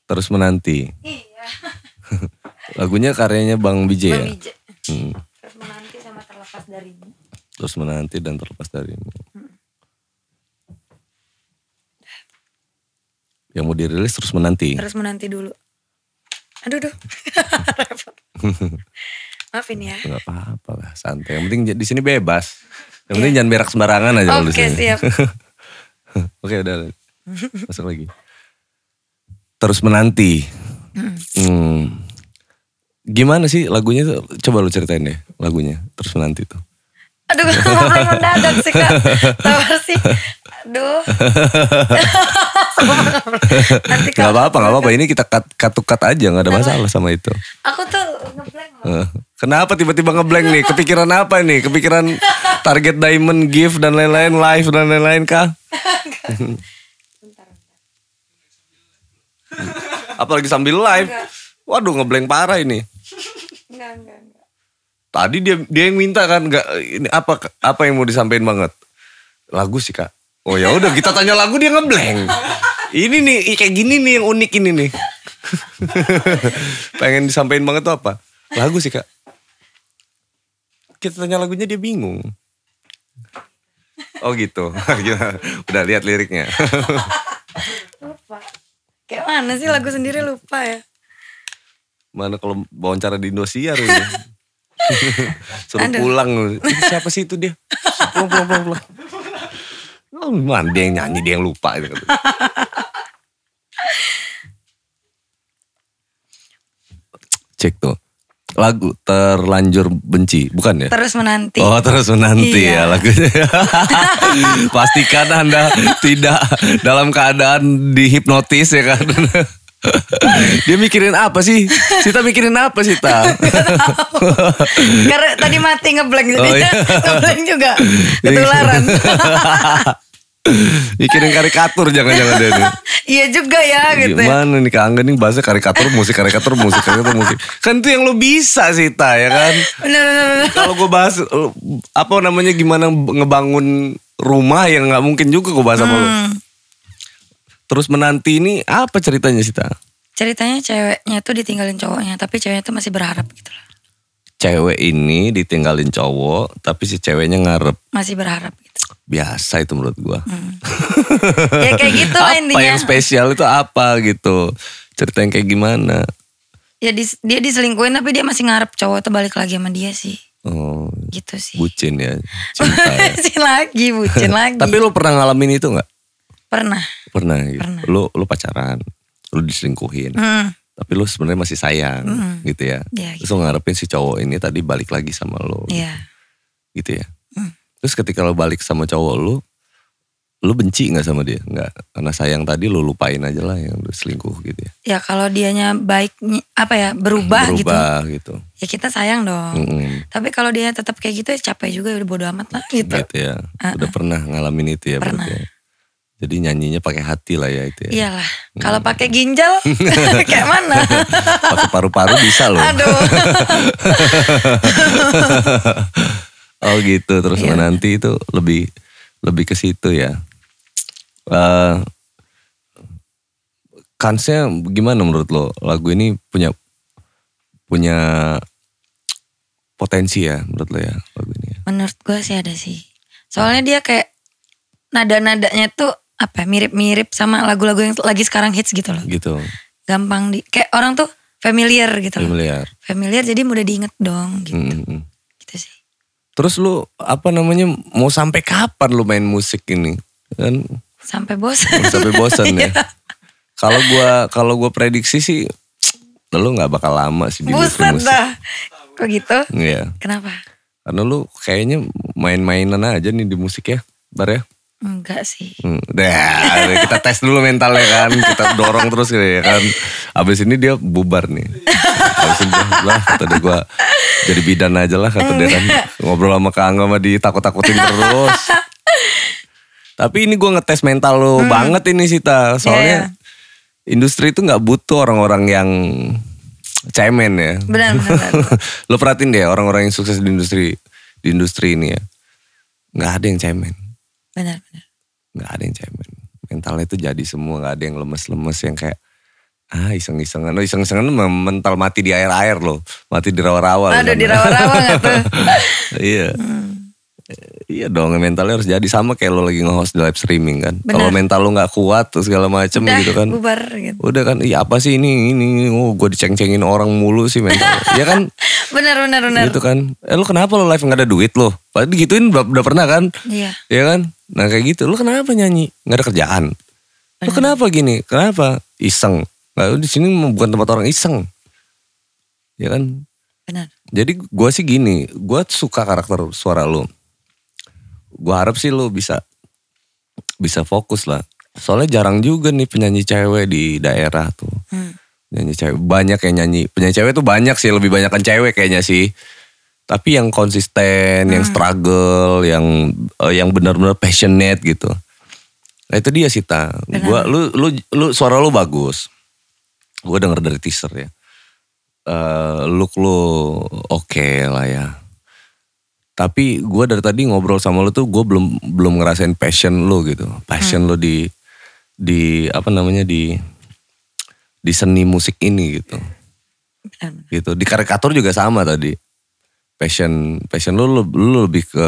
Speaker 1: Terus menanti.
Speaker 2: Iya.
Speaker 1: Lagunya karyanya Bang BJ ya.
Speaker 2: Bang Ije.
Speaker 1: Hmm.
Speaker 2: Terus menanti sama terlepas darimu.
Speaker 1: Terus menanti dan terlepas darimu.
Speaker 2: Hmm.
Speaker 1: Yang mau dirilis terus menanti.
Speaker 2: Terus menanti dulu. Aduh duh. [laughs] Repot. Maafin ya.
Speaker 1: Gak apa-apa lah, santai. Yang penting j- di sini bebas. Yang penting jangan berak sembarangan aja kalau di
Speaker 2: Iya. Oke
Speaker 1: sini.
Speaker 2: siap.
Speaker 1: [laughs] Oke udah. Masuk lagi. Terus menanti. Hmm. Gimana sih lagunya tuh? Coba lu ceritain deh lagunya. Terus menanti tuh.
Speaker 2: Aduh [laughs] ngobrol mendadak sih kak. Tawar sih. Aduh. [laughs] Nanti
Speaker 1: Gak
Speaker 2: kalau
Speaker 1: apa-apa, gak apa-apa. Ini kita cut- cut-cut aja, gak ada masalah sama itu.
Speaker 2: aku tuh ngeblank
Speaker 1: Eh,
Speaker 2: loh.
Speaker 1: Kenapa tiba-tiba ngeblank nih? Kepikiran apa nih? Kepikiran target diamond, gift, dan lain-lain, live, dan lain-lain kah? Apalagi sambil live. Waduh ngeblank parah ini.
Speaker 2: Enggak enggak enggak.
Speaker 1: Tadi dia dia yang minta kan nggak ini apa apa yang mau disampaikan banget? Lagu sih kak. Oh ya udah kita tanya lagu dia ngeblank. Ini nih i- kayak gini nih yang unik ini nih. [laughs] Pengen disampaikan banget tuh apa? Lagu sih kak. Kita tanya lagunya dia bingung. Oh gitu. [laughs] Gila. udah lihat liriknya.
Speaker 2: Lupa. Kayak mana sih lagu sendiri lupa ya.
Speaker 1: Mana kalau wawancara di Indosiar ini. Suruh pulang. Ih, siapa sih itu dia? Pulang, pulang, pulang, pulang. Oh, mana dia yang nyanyi, dia yang lupa. gitu. Cek tuh. Lagu terlanjur benci, bukan ya?
Speaker 2: Terus menanti.
Speaker 1: Oh terus menanti
Speaker 2: Iya.
Speaker 1: ya lagunya. Pastikan anda tidak dalam keadaan dihipnotis ya kan. Dia mikirin apa sih? Sita mikirin apa sih,
Speaker 2: [laughs]
Speaker 1: Ta?
Speaker 2: [laughs] Karena tadi mati ngeblank
Speaker 1: Oh,
Speaker 2: [laughs]
Speaker 1: iya.
Speaker 2: jadinya ngeblank juga ketularan. [laughs]
Speaker 1: mikirin karikatur jangan-jangan dia. nih.
Speaker 2: Iya juga ya gitu. ya.
Speaker 1: Gimana nih Kak Angga nih bahasa karikatur, musik karikatur, musik karikatur, musik. Kan itu yang lo bisa sih, Ta, ya kan?
Speaker 2: Bener bener bener.
Speaker 1: Kalau gue bahas eh, apa namanya gimana ngebangun rumah yang nggak mungkin juga gue bahas sama lo.
Speaker 2: Hmm.
Speaker 1: Terus menanti ini apa ceritanya Sita?
Speaker 2: Ceritanya ceweknya tuh ditinggalin cowoknya, tapi ceweknya tuh masih berharap gitu loh.
Speaker 1: Cewek ini ditinggalin cowok, tapi si ceweknya ngarep.
Speaker 2: Masih berharap gitu.
Speaker 1: Biasa itu menurut gua. [laughs]
Speaker 2: Ya kayak gitu lah
Speaker 1: apa
Speaker 2: Hmm. intinya.
Speaker 1: yang spesial itu apa gitu? Cerita yang kayak gimana?
Speaker 2: Ya dis- dia diselingkuhin tapi dia masih ngarep cowok itu balik lagi sama dia sih.
Speaker 1: Oh,
Speaker 2: Gitu sih.
Speaker 1: bucin ya. Cinta ya.
Speaker 2: Bucin lagi,
Speaker 1: [laughs]
Speaker 2: bucin [laughs] lagi.
Speaker 1: tapi lo pernah ngalamin itu nggak?
Speaker 2: Pernah.
Speaker 1: Pernah gitu.
Speaker 2: Pernah.
Speaker 1: Lo lo pacaran, lo diselingkuhin.
Speaker 2: Hmm.
Speaker 1: tapi lu sebenarnya masih sayang gitu ya.
Speaker 2: Iya,
Speaker 1: Terus lu ngarepin si cowok ini tadi balik lagi sama lu
Speaker 2: Iya.
Speaker 1: gitu ya.
Speaker 2: Hmm.
Speaker 1: Terus ketika lu balik sama cowok lu, lu benci nggak sama dia? Nggak, karena sayang tadi lu lupain aja lah yang udah selingkuh gitu ya.
Speaker 2: Ya kalau dianya baik apa ya berubah, gitu.
Speaker 1: Berubah Hmm. gitu.
Speaker 2: Ya kita sayang dong.
Speaker 1: Mm-mm.
Speaker 2: Tapi kalau dia tetap kayak gitu ya capek juga ya udah bodo amat lah gitu.
Speaker 1: Gitu ya. Udah pernah ngalamin itu ya
Speaker 2: Pernah.
Speaker 1: berarti
Speaker 2: Iya.
Speaker 1: ya. Jadi nyanyinya pakai hati lah ya itu ya.
Speaker 2: Iyalah, kalau pakai ginjal [laughs] kayak
Speaker 1: [laughs]
Speaker 2: mana?
Speaker 1: Pakai paru-paru bisa loh.
Speaker 2: [laughs] Aduh.
Speaker 1: Oh gitu, terus menanti itu lebih lebih ke situ ya. Eh kansnya gimana menurut lo? Lagu ini punya punya potensi ya menurut lo ya lagu ini. ya?
Speaker 2: Menurut gue sih ada sih. Soalnya dia kayak nada-nadanya tuh apa ya, mirip-mirip sama lagu-lagu yang lagi sekarang hits gitu loh.
Speaker 1: Gitu,
Speaker 2: Gampang di kayak orang tuh familiar gitu loh.
Speaker 1: familiar.
Speaker 2: Familiar jadi mudah diinget dong gitu.
Speaker 1: Mm, mm, mm.
Speaker 2: Gitu sih.
Speaker 1: Terus lo apa namanya mau sampai kapan lo main musik ini? Kan
Speaker 2: Sampai
Speaker 1: [laughs]
Speaker 2: bosan. [laughs]
Speaker 1: sampai bosan ya. Kalau gua kalau gua prediksi sih lo nggak bakal lama sih di
Speaker 2: Buset
Speaker 1: musik.
Speaker 2: dah. Kok gitu?
Speaker 1: Iya.
Speaker 2: Kenapa?
Speaker 1: Karena lu kayaknya main-mainan aja nih di musik ya, Bar ya.
Speaker 2: Enggak sih.
Speaker 1: Hmm. Dah, kita tes dulu mentalnya kan, kita dorong terus gitu ya kan. Abis ini dia bubar nih. Abis ini dia, lah kata dia gue jadi bidan aja lah kata dia kan. Ngobrol sama Kak Angga sama di takut-takutin terus. Tapi ini gua ngetes mental lo banget ini Sita. Soalnya industri itu nggak butuh orang-orang yang cemen ya.
Speaker 2: Benar, benar, benar.
Speaker 1: [laughs] lo perhatiin deh orang-orang yang sukses di industri di industri ini ya nggak ada yang cemen
Speaker 2: benar, benar.
Speaker 1: nggak ada yang cemen mentalnya itu jadi semua nggak ada yang lemes-lemes yang kayak ah iseng-isengan lo iseng-isengan lo mental mati di air-air lo mati di rawa-rawa lo
Speaker 2: Aduh
Speaker 1: sana.
Speaker 2: dirawa-rawa gak tuh?
Speaker 1: [laughs] iya Eh, Iya dong mentalnya harus jadi sama kayak lo lagi nge-host di live streaming kan. Kalau mental lo nggak kuat terus segala macem
Speaker 2: Udah
Speaker 1: gitu kan.
Speaker 2: bubar gitu.
Speaker 1: Udah kan, iya apa sih ini ini, ini. oh gue diceng-cengin orang mulu sih mental. ya kan
Speaker 2: Benar, benar, benar.
Speaker 1: gitu kan eh lu kenapa lu live nggak ada duit lo padahal digituin udah, udah pernah kan
Speaker 2: Iya.
Speaker 1: ya kan nah kayak gitu lu kenapa nyanyi nggak ada kerjaan lu kenapa gini kenapa iseng nah, lu di sini bukan tempat orang iseng ya kan
Speaker 2: Benar.
Speaker 1: jadi gua sih gini gua suka karakter suara lu gua harap sih lu bisa bisa fokus lah soalnya jarang juga nih penyanyi cewek di daerah tuh
Speaker 2: Hmm.
Speaker 1: nyanyi cewek banyak yang nyanyi penyanyi cewek tuh banyak sih lebih banyak kan cewek kayaknya sih tapi yang konsisten yang struggle yang eh, yang benar-benar passionate gitu nah itu dia sih ta gua lu lu lu suara lu bagus gua denger dari teaser ya Eh look lu oke lah ya tapi gua dari tadi ngobrol sama lu tuh gue belum belum ngerasain passion lu gitu passion lu di di apa namanya di di seni musik ini gitu
Speaker 2: Benar, benar.
Speaker 1: gitu di karikatur juga sama tadi passion passion lu, lu, lu lebih ke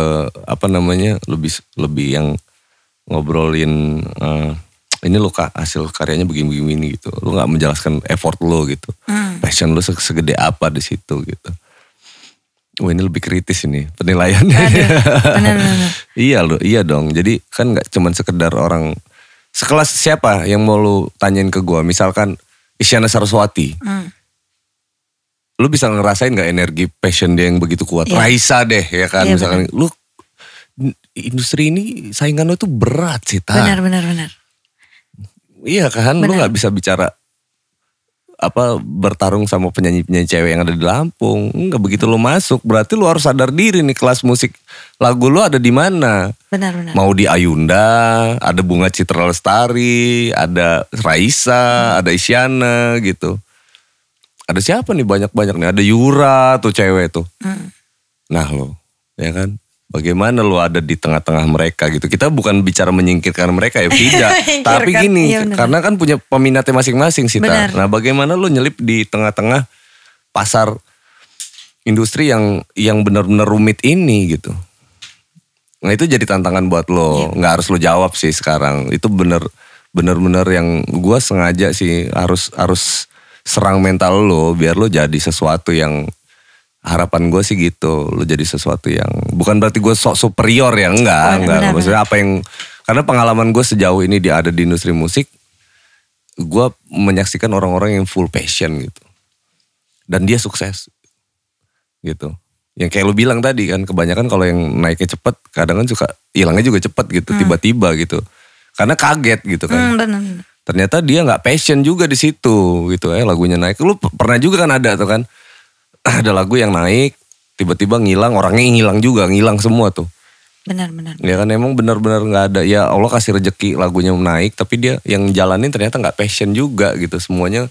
Speaker 1: apa namanya lebih lebih yang ngobrolin eh, ini lo kak hasil karyanya begini-begini gitu lu nggak menjelaskan effort lo gitu
Speaker 2: Hmm.
Speaker 1: passion lu se- segede apa di situ gitu Wah ini lebih kritis ini penilaiannya.
Speaker 2: benar, benar.
Speaker 1: [laughs] iya lo, iya dong. Jadi kan nggak cuman sekedar orang sekelas siapa yang mau lu tanyain ke gua. Misalkan Isyana Saraswati,
Speaker 2: Hmm.
Speaker 1: lu bisa ngerasain nggak energi passion dia yang begitu kuat?
Speaker 2: Iya.
Speaker 1: Raisa deh ya kan,
Speaker 2: Iya,
Speaker 1: misalkan lu industri ini saingan lu tuh berat sih ta.
Speaker 2: Benar, benar, benar.
Speaker 1: Iya kan, lu nggak bisa bicara apa bertarung sama penyanyi-penyanyi cewek yang ada di Lampung. Enggak begitu lu masuk, berarti lu harus sadar diri nih kelas musik lagu lu ada di mana.
Speaker 2: Benar-benar.
Speaker 1: Mau di Ayunda, ada Bunga Citra Lestari, ada Raisa, ada Isyana gitu. Ada siapa nih banyak-banyak nih? Ada Yura tuh cewek tuh.
Speaker 2: Hmm.
Speaker 1: Nah lo, ya kan? Bagaimana lo ada di tengah-tengah mereka gitu? Kita bukan bicara menyingkirkan
Speaker 2: [laughs]
Speaker 1: mereka ya, tidak. Tapi
Speaker 2: Menyingkirkan,
Speaker 1: gini,
Speaker 2: iya benar.
Speaker 1: karena kan punya peminatnya masing-masing sih.
Speaker 2: Benar.
Speaker 1: Nah bagaimana lo nyelip di tengah-tengah pasar industri yang yang benar-benar rumit ini gitu? Nah itu jadi tantangan buat
Speaker 2: Iya.
Speaker 1: lo. Nggak harus lo jawab sih sekarang. Itu bener bener-bener yang gua sengaja sih harus harus serang mental lo biar lo jadi sesuatu yang harapan gue sih gitu lo jadi sesuatu yang bukan berarti gue sok superior ya enggak enggak
Speaker 2: Oh, iya, benar,
Speaker 1: maksudnya apa yang karena pengalaman gue sejauh ini di ada di industri musik gue menyaksikan orang-orang yang full passion gitu dan dia sukses gitu. Yang kayak lu bilang tadi kan kebanyakan kalau yang naiknya cepet kadang kan suka hilangnya juga cepet gitu tiba-tiba gitu. Karena kaget gitu kan.
Speaker 2: Hmm, benar.
Speaker 1: Ternyata dia nggak passion juga di situ gitu eh lagunya naik. Lu p- pernah juga kan ada tuh kan [clears throat] ada lagu yang naik tiba-tiba ngilang orangnya ngilang juga ngilang semua tuh.
Speaker 2: Benar-benar.
Speaker 1: Ya kan emang benar-benar nggak ada ya Allah kasih rejeki lagunya naik tapi dia yang jalanin ternyata nggak passion juga gitu semuanya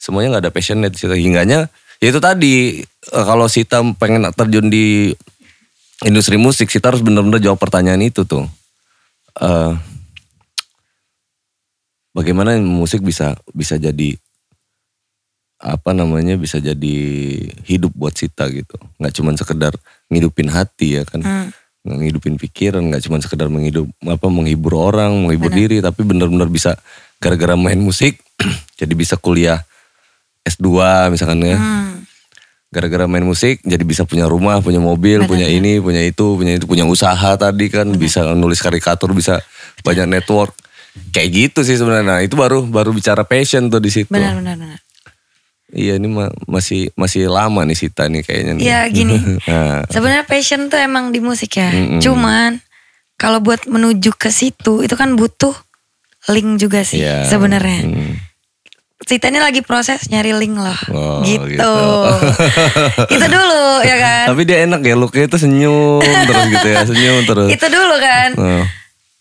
Speaker 1: semuanya nggak ada passionnya di situ hingganya ya itu tadi eh, kalau Sita pengen terjun di industri musik Sita harus benar-benar jawab pertanyaan itu tuh Eh, bagaimana musik bisa bisa jadi apa namanya bisa jadi hidup buat Sita gitu nggak cuman sekedar ngidupin hati ya kan nggak ngidupin pikiran nggak cuman sekedar menghidup apa menghibur orang menghibur diri tapi benar-benar bisa gara-gara main musik [clears throat] jadi bisa kuliah S2 misalkan ya
Speaker 2: Hmm.
Speaker 1: gara-gara main musik jadi bisa punya rumah, punya mobil, punya ini, punya itu, punya itu, punya usaha tadi kan bisa nulis karikatur, bisa banyak network. Kayak gitu sih sebenarnya. Nah, itu baru baru bicara passion tuh di situ.
Speaker 2: Benar-benar. benar.
Speaker 1: Iya, ini ma- masih masih lama nih Sita nih kayaknya nih.
Speaker 2: Ya gini.
Speaker 1: [laughs] Nah,
Speaker 2: Sebenarnya passion tuh emang di musik ya.
Speaker 1: Mm-mm.
Speaker 2: Cuman kalau buat menuju ke situ itu kan butuh link juga sih
Speaker 1: iya.
Speaker 2: sebenarnya.
Speaker 1: Hmm.
Speaker 2: Sita ini lagi proses nyari link loh.
Speaker 1: Oh,
Speaker 2: gitu.
Speaker 1: gitu.
Speaker 2: itu dulu ya kan.
Speaker 1: Tapi dia enak ya, looknya itu senyum terus gitu ya, senyum terus.
Speaker 2: Itu dulu kan.
Speaker 1: Nah,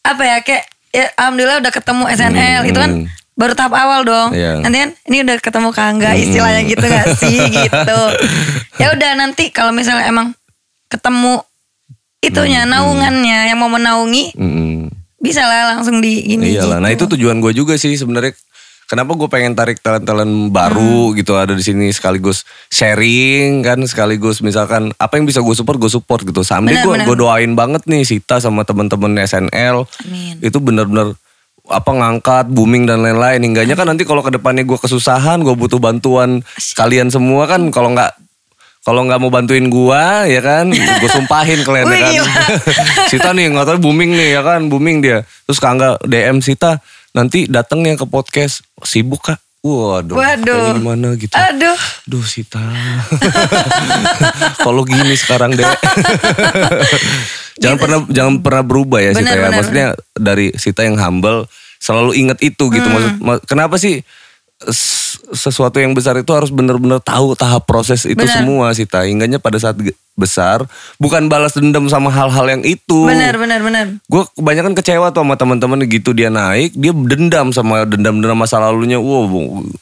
Speaker 2: Apa ya kayak ya, alhamdulillah udah ketemu SNL
Speaker 1: Hmm,
Speaker 2: itu kan
Speaker 1: hmm.
Speaker 2: baru tahap awal dong.
Speaker 1: Iya. Hmm.
Speaker 2: Nanti kan ini udah ketemu Kangga istilahnya gitu gak
Speaker 1: [laughs]
Speaker 2: sih gitu. Ya udah nanti kalau misalnya emang ketemu itunya
Speaker 1: Hmm,
Speaker 2: naungannya yang mau menaungi
Speaker 1: mm-mm.
Speaker 2: bisa lah langsung di gini. gitu.
Speaker 1: Iyalah, nah itu tujuan gue juga sih sebenarnya. Kenapa gue pengen tarik talent-talent
Speaker 2: Hmm.
Speaker 1: baru gitu ada di sini sekaligus sharing kan sekaligus misalkan apa yang bisa gue support gue support gitu. Sambil
Speaker 2: Benar,
Speaker 1: gue
Speaker 2: benar.
Speaker 1: gue doain banget nih Sita sama temen-temen SNL
Speaker 2: Amin.
Speaker 1: itu bener-bener apa ngangkat booming dan lain-lain hingganya kan nanti kalau kedepannya gue kesusahan gue butuh bantuan kalian semua kan kalau nggak kalau nggak mau bantuin gua ya kan gue
Speaker 2: [laughs]
Speaker 1: sumpahin kalian ya
Speaker 2: Wih,
Speaker 1: kan
Speaker 2: gila.
Speaker 1: [laughs] Sita nih nggak tahu booming nih ya kan booming dia terus Kangga DM Sita nanti datangnya ke podcast sibuk kak waduh kayaknya
Speaker 2: Waduh.
Speaker 1: gimana gitu
Speaker 2: Aduh.
Speaker 1: Duh Sita [laughs] Kalau gini sekarang
Speaker 2: [laughs]
Speaker 1: deh Jangan pernah jangan pernah berubah ya Sita
Speaker 2: Gitu. Benar,
Speaker 1: ya
Speaker 2: benar, Hmm.
Speaker 1: Maksudnya dari Sita yang humble Selalu ingat itu gitu Maksud- ma- Kenapa sih s- sesuatu yang besar itu harus benar-benar tahu tahap proses itu
Speaker 2: Benar.
Speaker 1: semua Sita Ingatnya pada saat ge- besar Bukan balas dendam sama hal-hal yang itu
Speaker 2: Benar benar benar.
Speaker 1: Gue kebanyakan kecewa tuh sama teman-teman gitu dia naik, dia dendam sama dendam-dendam masa lalunya. Wow,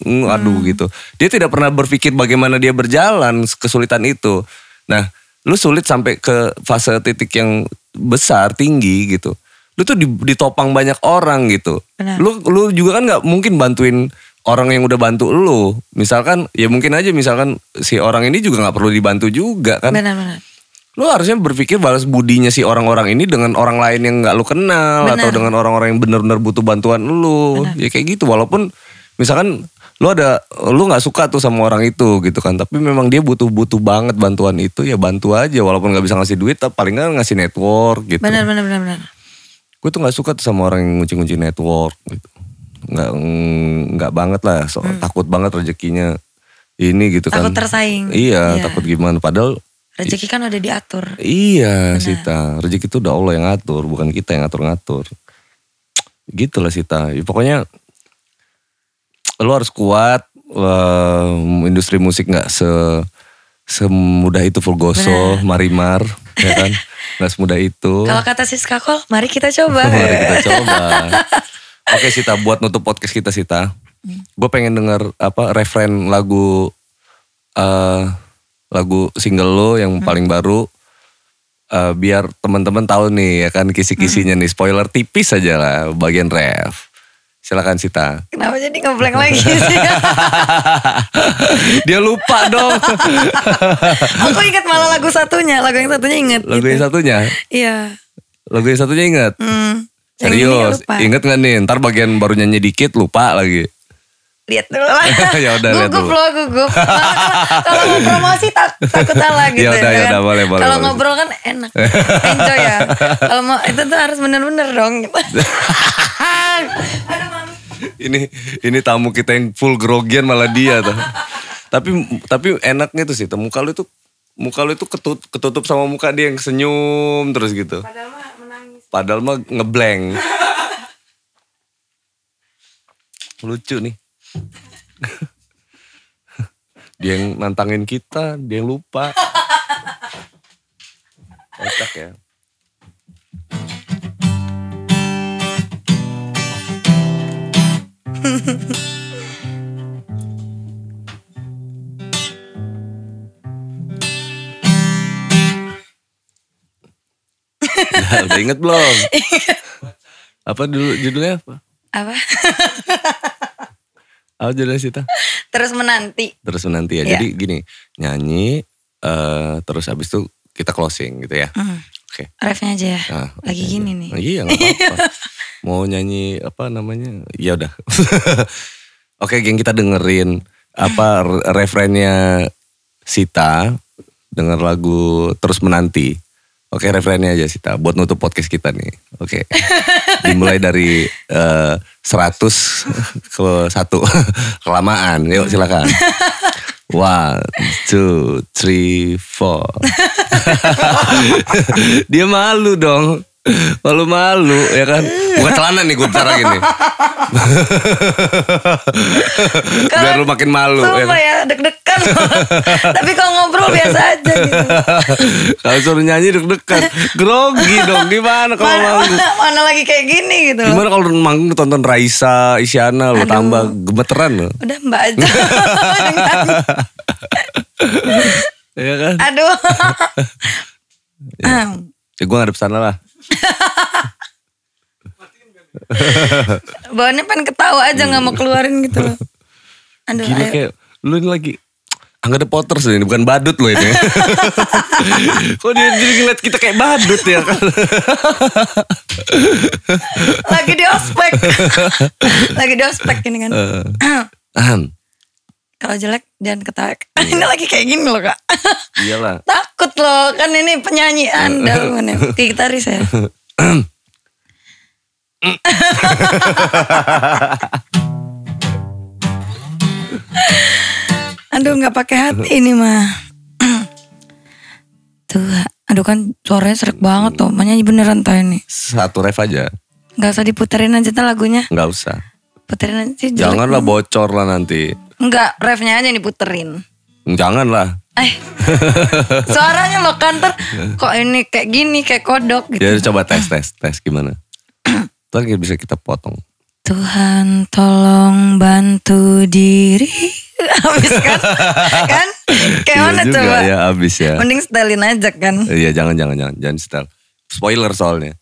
Speaker 1: mm, aduh gitu. Dia tidak pernah berpikir bagaimana dia berjalan kesulitan itu. Nah, lu sulit sampai ke fase titik yang besar, tinggi gitu. Lu tuh di- ditopang banyak orang gitu.
Speaker 2: Benar.
Speaker 1: Lu lu juga kan nggak mungkin bantuin orang yang udah bantu lu. Misalkan ya mungkin aja misalkan si orang ini juga nggak perlu dibantu juga kan
Speaker 2: Benar benar.
Speaker 1: lu harusnya berpikir balas budinya si orang-orang ini dengan orang lain yang nggak lu kenal atau dengan orang-orang yang benar-benar butuh bantuan lu ya kayak gitu walaupun misalkan lu ada lu nggak suka tuh sama orang itu gitu kan tapi memang dia butuh butuh banget bantuan itu ya bantu aja walaupun nggak bisa ngasih duit tapi paling nggak ngasih network gitu
Speaker 2: Benar benar benar benar.
Speaker 1: gue tuh nggak suka tuh sama orang yang ngunci-ngunci network gitu nggak mm, nggak banget lah so, takut banget rezekinya ini gitu
Speaker 2: Hmm. Takut
Speaker 1: kan
Speaker 2: tersaing.
Speaker 1: iya takut gimana padahal
Speaker 2: Rezeki kan udah diatur.
Speaker 1: Iya Sita, rezeki itu udah Allah yang ngatur, bukan kita yang ngatur-ngatur. Gitu lah Sita, Ya, pokoknya lo harus kuat, eh, industri musik nggak se semudah itu Fulgoso, Marimar, ya kan? Nggak semudah itu.
Speaker 2: Kalau kata Siska Kol, mari kita coba.
Speaker 1: Mari kita coba. Oke Sita, buat nutup podcast kita Sita, gue pengen denger apa referen lagu eh lagu single lo yang
Speaker 2: Hmm.
Speaker 1: paling baru. Eh, biar teman-teman tahu nih ya kan kisi-kisinya nih
Speaker 2: Hmm.
Speaker 1: spoiler tipis aja lah bagian ref. Silakan Sita. [laughs]
Speaker 2: Kenapa jadi ngeblank lagi sih?
Speaker 1: Dia lupa dong
Speaker 2: [laughs] Aku ingat malah lagu satunya, lagu yang satunya inget.
Speaker 1: lagu yang
Speaker 2: gitu.
Speaker 1: satunya.
Speaker 2: Iya.
Speaker 1: Lagu yang satunya inget.
Speaker 2: Hmm. Yang ini
Speaker 1: Serius,
Speaker 2: lupa.
Speaker 1: inget gak nih? Ntar bagian baru nyanyi dikit lupa lagi.
Speaker 2: Lihat dulu lah.
Speaker 1: [laughs] Ya udah, lihat
Speaker 2: gugup
Speaker 1: dulu.
Speaker 2: loh, gugup. Malah Kalau kalau mau promosi tak, takut salah
Speaker 1: [laughs]
Speaker 2: gitu.
Speaker 1: Ya udah, ya udah, boleh, boleh,
Speaker 2: Kalau
Speaker 1: boleh.
Speaker 2: ngobrol kan
Speaker 1: [laughs]
Speaker 2: enak. Enjoy ya. Kalau mau itu tuh harus bener-bener dong.
Speaker 1: [laughs]
Speaker 2: Gitu. Aduh, Mami.
Speaker 1: ini ini tamu kita yang full grogian malah dia tuh. tapi tapi enaknya tuh sih, tuh, muka lu itu muka lu itu ketut- ketutup sama muka dia yang senyum terus gitu.
Speaker 2: Padahal mah menangis.
Speaker 1: Padahal mah ngeblank. Lucu nih. dia yang nantangin kita, dia yang lupa. Kocak ya. Udah inget belum? apa dulu judulnya apa?
Speaker 2: Apa?
Speaker 1: Apa judulnya Sita?
Speaker 2: Terus menanti.
Speaker 1: Terus nanti ya.
Speaker 2: Iya.
Speaker 1: Jadi gini, nyanyi eh terus abis itu kita closing gitu ya.
Speaker 2: Hmm.
Speaker 1: Oke.
Speaker 2: Refnya aja ya.
Speaker 1: Ah,
Speaker 2: Lagi
Speaker 1: oke.
Speaker 2: gini nih.
Speaker 1: Iya, nggak
Speaker 2: [laughs]
Speaker 1: apa-apa. Mau nyanyi apa namanya? Ya udah. [laughs] Oke, geng kita dengerin apa re- refrennya Sita denger lagu terus menanti. Oke, refrennya aja Sita buat nutup podcast kita nih.
Speaker 2: [laughs]
Speaker 1: Oke. Dimulai dari eh, 100 [laughs] ke 1 [laughs] kelamaan. Yuk, silakan.
Speaker 2: [laughs]
Speaker 1: One, two, three, four. [laughs] Dia malu dong. Malu-malu ya kan. Bukan celana nih gue bicara gini. [laughs] Biar lu makin malu ya
Speaker 2: Sumpah
Speaker 1: kan. [laughs]
Speaker 2: ya, deg-degan loh. Tapi kalau ngobrol biasa aja gitu.
Speaker 1: Kalau suruh nyanyi deg-degan. Grogi dong gimana kalau
Speaker 2: Mana,
Speaker 1: Oh, malu.
Speaker 2: mana, mana lagi kayak gini gitu loh.
Speaker 1: Gimana kalau manggung tonton Raisa, Isyana lu
Speaker 2: Aduh.
Speaker 1: tambah gemeteran lu.
Speaker 2: Udah mbak aja.
Speaker 1: Ya kan.
Speaker 2: Aduh. Ah,
Speaker 1: Ya gue ngadep sana lah.
Speaker 2: Bawaannya pengen ketawa aja nggak mau keluarin gitu loh. Aduh,
Speaker 1: Gila
Speaker 2: ayo.
Speaker 1: kayak lu ini lagi "Ah, Angga The Potters loh ini bukan badut loh
Speaker 2: [laughs]
Speaker 1: ini. Kok dia jadi ngeliat kita kayak badut ya
Speaker 2: [laughs]
Speaker 1: kan?
Speaker 2: lagi di ospek. lagi di ospek ini kan.
Speaker 1: Ahem.
Speaker 2: Kalau jelek jangan ketawa. [laughs] ini lagi kayak gini loh kak.
Speaker 1: Iyalah.
Speaker 2: Takut loh kan ini penyanyi anda bukan ya. Gitaris ya. Aduh nggak pakai hati ini mah. Tuh, aduh kan suaranya serak banget tuh. Makanya beneran tahu ini.
Speaker 1: Satu ref aja.
Speaker 2: Gak usah diputerin aja tuh lagunya.
Speaker 1: Nggak usah.
Speaker 2: Puterin aja. jelek.
Speaker 1: Janganlah bocor lah nanti.
Speaker 2: Enggak, refnya aja yang diputerin. [laughs]
Speaker 1: Janganlah.
Speaker 2: Eh, suaranya lo kan ter kok ini kayak gini kayak kodok gitu.
Speaker 1: Jadi Ya coba tes tes tes gimana? Ntar kita bisa kita potong.
Speaker 2: Tuhan tolong bantu diri. [laughs] Habis kan? kan? Kayak
Speaker 1: Iya
Speaker 2: mana
Speaker 1: juga
Speaker 2: coba?
Speaker 1: Ya abis ya.
Speaker 2: Mending setelin aja kan.
Speaker 1: Iya jangan jangan jangan jangan setel. Spoiler soalnya.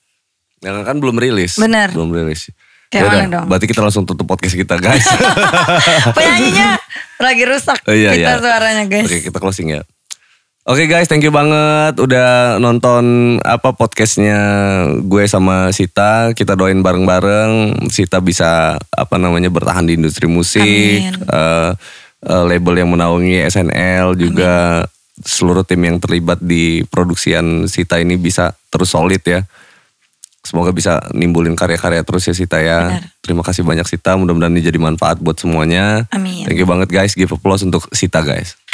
Speaker 1: Yang kan belum rilis.
Speaker 2: Benar.
Speaker 1: Belum rilis.
Speaker 2: Kayak
Speaker 1: Yaudah,
Speaker 2: mana dong?
Speaker 1: Berarti kita langsung tutup podcast kita guys. [laughs]
Speaker 2: Penyanyinya lagi rusak
Speaker 1: Oh, iya, iya.
Speaker 2: kita suaranya guys.
Speaker 1: Oke kita closing ya. Oke guys, thank you banget udah nonton apa podcastnya gue sama Sita. Kita doain bareng-bareng. Sita bisa apa namanya bertahan di industri musik.
Speaker 2: Amin.
Speaker 1: Eh, eh, label yang menaungi SNL juga seluruh tim yang terlibat di produksian Sita ini bisa terus solid ya. Semoga bisa nimbulin karya-karya terus ya Sita ya.
Speaker 2: Benar.
Speaker 1: Terima kasih banyak Sita. Mudah-mudahan ini jadi manfaat buat semuanya.
Speaker 2: Amin.
Speaker 1: Thank you banget guys. Give applause untuk Sita guys.